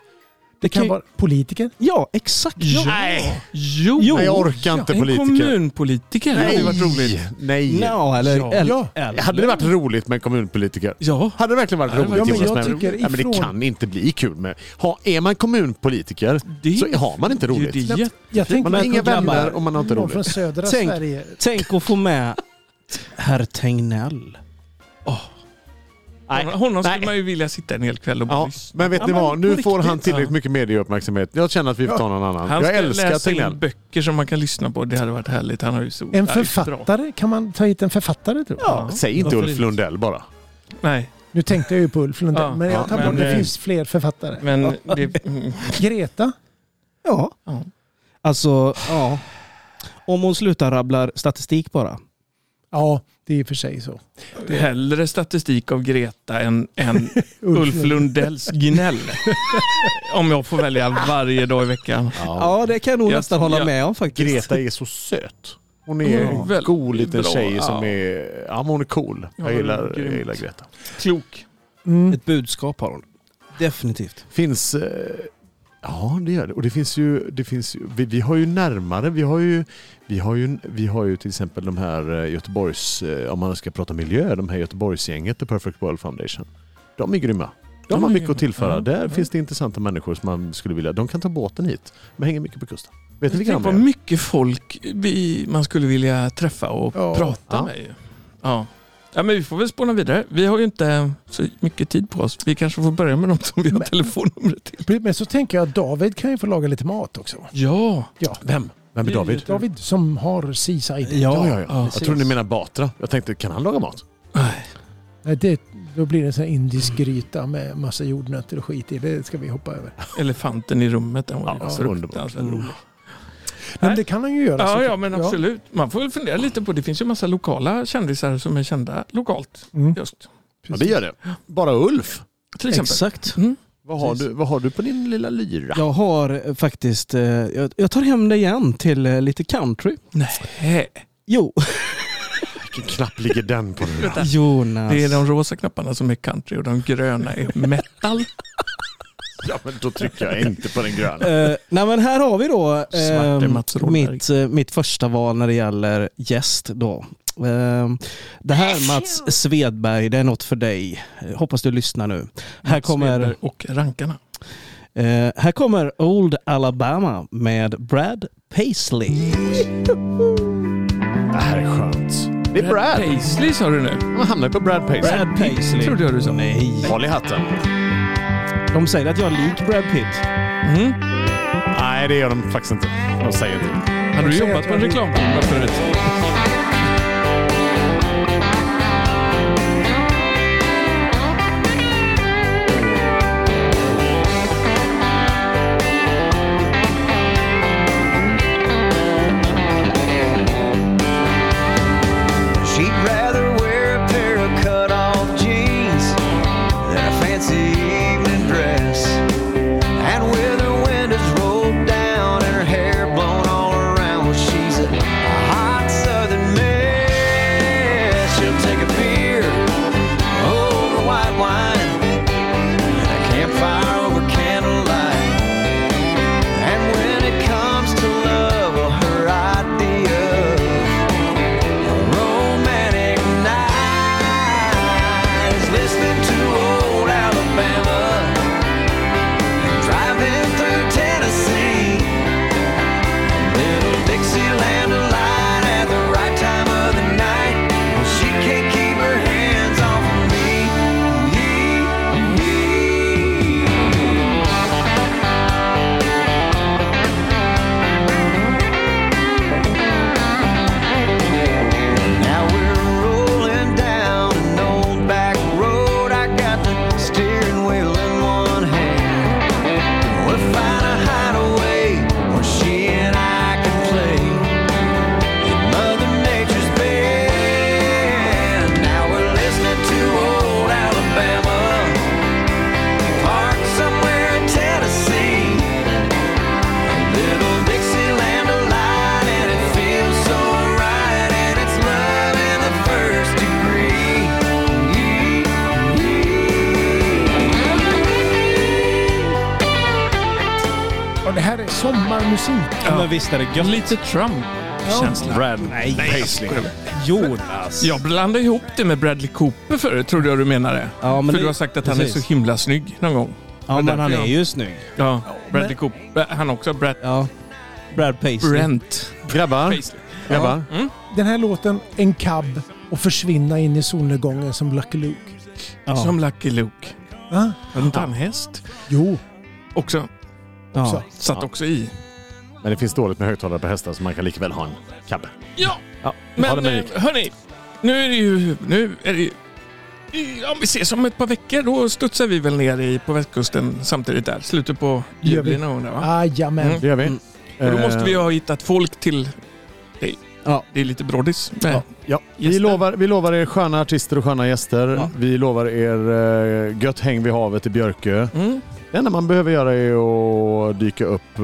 S4: Det kan
S3: kan-
S4: vara politiker.
S3: Ja, exakt.
S2: Ja.
S1: Nej.
S2: Jo!
S1: Nej, jag orkar inte
S2: en
S1: politiker.
S2: kommunpolitiker hade ju varit roligt.
S1: Nej.
S3: No, eller,
S2: Ja.
S3: eller,
S1: Ja. Hade det varit roligt med en kommunpolitiker?
S2: Ja.
S1: Hade det verkligen varit
S2: Ja, det
S1: roligt
S2: var-
S4: Ja, men
S1: Jonas?
S4: jag tycker
S1: ja, men det
S4: ifrån-
S1: kan inte bli kul med... Ha, är man kommunpolitiker
S2: Det
S1: så har man inte roligt.
S2: Det är jätte-
S4: Jag tänker
S1: Man har
S4: mig
S1: inga
S4: att de grabbar-
S1: vänner och man har inte
S4: någon från
S1: roligt.
S4: södra
S3: Tänk-
S4: Sverige.
S3: Tänk att få med herr Tegnell.
S1: Nej.
S2: Honom skulle
S1: Nej.
S2: man ju vilja sitta en hel kväll och bara
S1: Ja,
S2: lyssna.
S1: men vet
S3: Ja,
S1: ni
S3: men
S1: vad?
S3: på
S1: Nu får
S3: riktigt,
S1: han tillräckligt
S2: ja.
S1: mycket medieuppmärksamhet. Jag känner att vi får ta någon annan.
S2: Han
S1: Jag
S2: ska
S1: älskar
S2: läsa in
S1: Tegnell.
S2: böcker som man kan lyssna på. Det hade varit härligt. Han har ju så
S4: En
S2: där bra.
S4: författare? Kan man ta hit en författare tror jag?
S2: Ja.
S1: Säg inte
S2: Varför
S1: Ulf Lundell bara.
S2: Nej,
S4: Nu tänkte jag ju på Ulf Lundell,
S2: Ja,
S4: men
S1: ja,
S4: jag tar
S2: men
S4: bort det
S2: det-
S4: finns fler författare.
S2: men det... Mm.
S4: Greta?
S3: Ja.
S2: Ja.
S3: Alltså, ja. Om hon slutar rabblar statistik bara.
S4: Ja, det är i och för sig så.
S2: Hellre statistik av Greta än,
S1: [LAUGHS]
S2: än Ulf Lundells gnäll. Om jag får välja varje dag i veckan.
S3: Ja, det kan jag nog
S2: Jag-
S3: nästan hålla
S2: jag-
S3: med om faktiskt.
S1: Greta är så söt. Hon är
S2: Ja,
S1: en
S2: väldigt
S1: god liten
S2: bra.
S1: tjej som
S2: Ja.
S1: är... Ja, men hon är cool.
S2: Ja,
S1: Jag gillar, jag
S2: grymt.
S1: gillar Greta.
S2: Klok.
S4: Mm.
S3: Ett budskap har hon. Definitivt.
S1: Finns... eh, Ja, det gör det. Och det finns ju... Det finns, ju- vi, vi har ju närmare. Vi har ju, vi, har ju, vi har ju till exempel de här eh, Göteborgs... eh, Om man ska prata miljö, de här Göteborgsgänget, The Perfect World Foundation. De är grymma. De
S2: De
S1: har
S2: är
S1: mycket att
S2: grymma.
S1: tillföra.
S2: Ja,
S1: Där
S2: ja.
S1: finns det intressanta människor som man skulle vilja... De kan ta båten hit. De hänger mycket på kusten. Vet ni vilka
S2: Tänk
S1: de
S2: vad
S1: är?
S2: mycket folk vi, man skulle vilja träffa och
S4: Ja.
S2: prata
S1: Ja.
S2: med. ju. Ja. ja, men vi får väl spåna vidare. Vi har ju inte så mycket tid på oss. Vi kanske får börja med de som vi har telefonnumret till.
S4: Men så tänker jag att David kan ju få laga lite mat också.
S2: Ja.
S4: Ja.
S2: Vem?
S1: Vem är David?
S4: David som har Seaside.
S1: Ja, ja, ja.
S2: Ja,
S1: jag tror ni menar Batra. Jag tänkte, kan han laga mat?
S4: Nej, det, då blir det en sån här indisk
S2: Mm.
S4: gryta med massa jordnötter och skit i. Det ska vi hoppa över.
S2: Elefanten i rummet, den var
S1: Ja,
S2: ju
S1: underbart.
S2: fruktansvärt rolig.
S4: Men
S2: Nej.
S4: det kan han ju göra.
S2: Ja,
S4: såklart.
S2: ja, men absolut. Man får väl fundera lite på, det finns ju massa lokala kändisar som är kända lokalt.
S4: Mm.
S2: Just,
S1: Ja, det gör det. Bara Ulf.
S2: till exempel.
S3: Exakt.
S2: Mm.
S1: Vad har, du, vad har du på din lilla lyra?
S3: Jag har eh, faktiskt, eh, jag, jag tar hem det igen till eh, lite country.
S2: Nej,
S3: Jo,
S1: Vilken knapp ligger den på? nu?
S3: [LAUGHS] Jonas.
S2: det är de rosa knapparna som är country och de gröna är metal.
S1: Ja, men då trycker jag inte på den gröna.
S3: Eh, nej men här har vi då
S2: Svarte
S3: ehm,
S2: Mats Rådberg.
S3: mitt, eh, mitt första val när det gäller gäst då. Ehm, det här Mats Svedberg, det är något för dig. Eh, Hoppas du lyssnar nu. Här kommer,
S2: Svedberg Och rankarna.
S3: eh, här kommer Old Alabama med Brad Paisley.
S1: [LAUGHS] Det här är skönt. Det är Brad.
S2: Paisley sa du nu.
S1: Man hamnar ju på Brad Paisley.
S3: Brad Paisley.
S2: Trodde jag du sa.
S3: Nej.
S1: Håll i hatten.
S3: De säger att jag är lik Brad Pitt.
S2: Mm.
S1: Nej, det gör de faktiskt inte. De säger inte.
S2: Hade du jobbat på en reklambyrå förut?
S5: She'd rather wear a pair of cut off jeans than a fancy evening dress. And with her windows rolled down and her hair blown all around, well, she's a hot southern mess. She'll take a beer over white wine, and a campfire over candlelight. And when it comes to love, well, her idea of romantic nights, listening to old Alabama, driving through Tennessee, little Dixieland alight at the right time of the night. She can't keep her hands off of me. Now we're rolling down an old back road. I got the steering wheel in one hand. We'll find a hideaway where she and I can play in Mother Nature's band. Now we're listening to old Alabama. Parked somewhere in Tennessee. Little Dixieland alive, and it feels so right, and it's love in the first degree.
S4: Och det här är sommarmusik.
S3: Ja. Men visst är det gött?
S2: Lite Trump-känsla.
S1: Brad Paisley.
S3: Jonas.
S2: Jag blandade ihop det med Bradley Cooper förut, trodde jag du menade.
S3: Ja, men
S2: För
S3: det-
S2: du har sagt att han är
S3: precis.
S2: så himla snygg någon gång.
S3: Ja men
S2: därför
S3: han är
S2: jag-
S3: ju snygg.
S2: Ja, Bradley Cooper. eh, Han också. Brad
S3: Ja. Brad Paisley.
S2: Brent.
S1: Grabbar,
S2: Paisley.
S1: grabbar.
S4: Den här låten, en cab och försvinna in i solnedgången som Lucky Luke.
S3: Ja.
S2: Som Lucky Luke.
S4: Va?
S2: Hade inte han häst?
S4: Jo,
S2: Också.
S3: Ja.
S2: Satt också i.
S1: Men det finns dåligt med högtalare på hästar så man kan lika väl ha en kabbe.
S2: Ja,
S1: Ja, ha det
S2: men
S1: med
S2: eh,
S1: Erik.
S2: hörni. Nu är det ju... Nu är det ju i- om vi ses om ett par veckor, då studsar vi väl ner i, på västkusten samtidigt där. Slutet på
S4: Gör vi.
S2: juli någon gång där, va?
S4: jajamän.
S2: Mm.
S1: Det gör vi.
S3: Mm.
S2: Och då måste vi
S1: Eh,
S2: ha hittat folk till dig.
S3: Ja.
S2: Det är lite brådis Eh, med
S1: Ja, ja. Vi,
S2: Gäster.
S1: lovar, vi lovar er sköna artister och sköna gäster.
S3: Ja.
S1: Vi lovar er eh, gött häng vid havet i Björkö.
S2: Mm.
S1: Det enda man behöver göra är att dyka upp eh,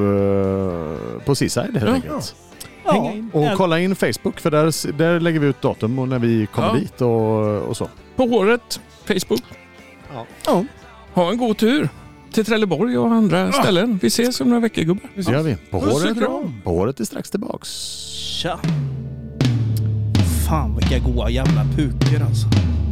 S1: på Seaside helt
S2: Ja.
S1: enkelt.
S3: Ja.
S1: Och kolla in Facebook för där, s- där lägger vi ut datum och när vi kommer
S2: Ja.
S1: dit och, och så.
S2: På håret, Facebook.
S1: Ja.
S3: Ja.
S2: Ha en god tur till Trelleborg och andra ställen. Vi ses om några veckor gubbar.
S1: Det gör vi. På
S2: Puss och
S1: håret,
S2: kram.
S1: på håret är strax tillbaks.
S3: Tja! Fan vilka goa jävla pukor alltså.
S5: Oh, Oh, Oh,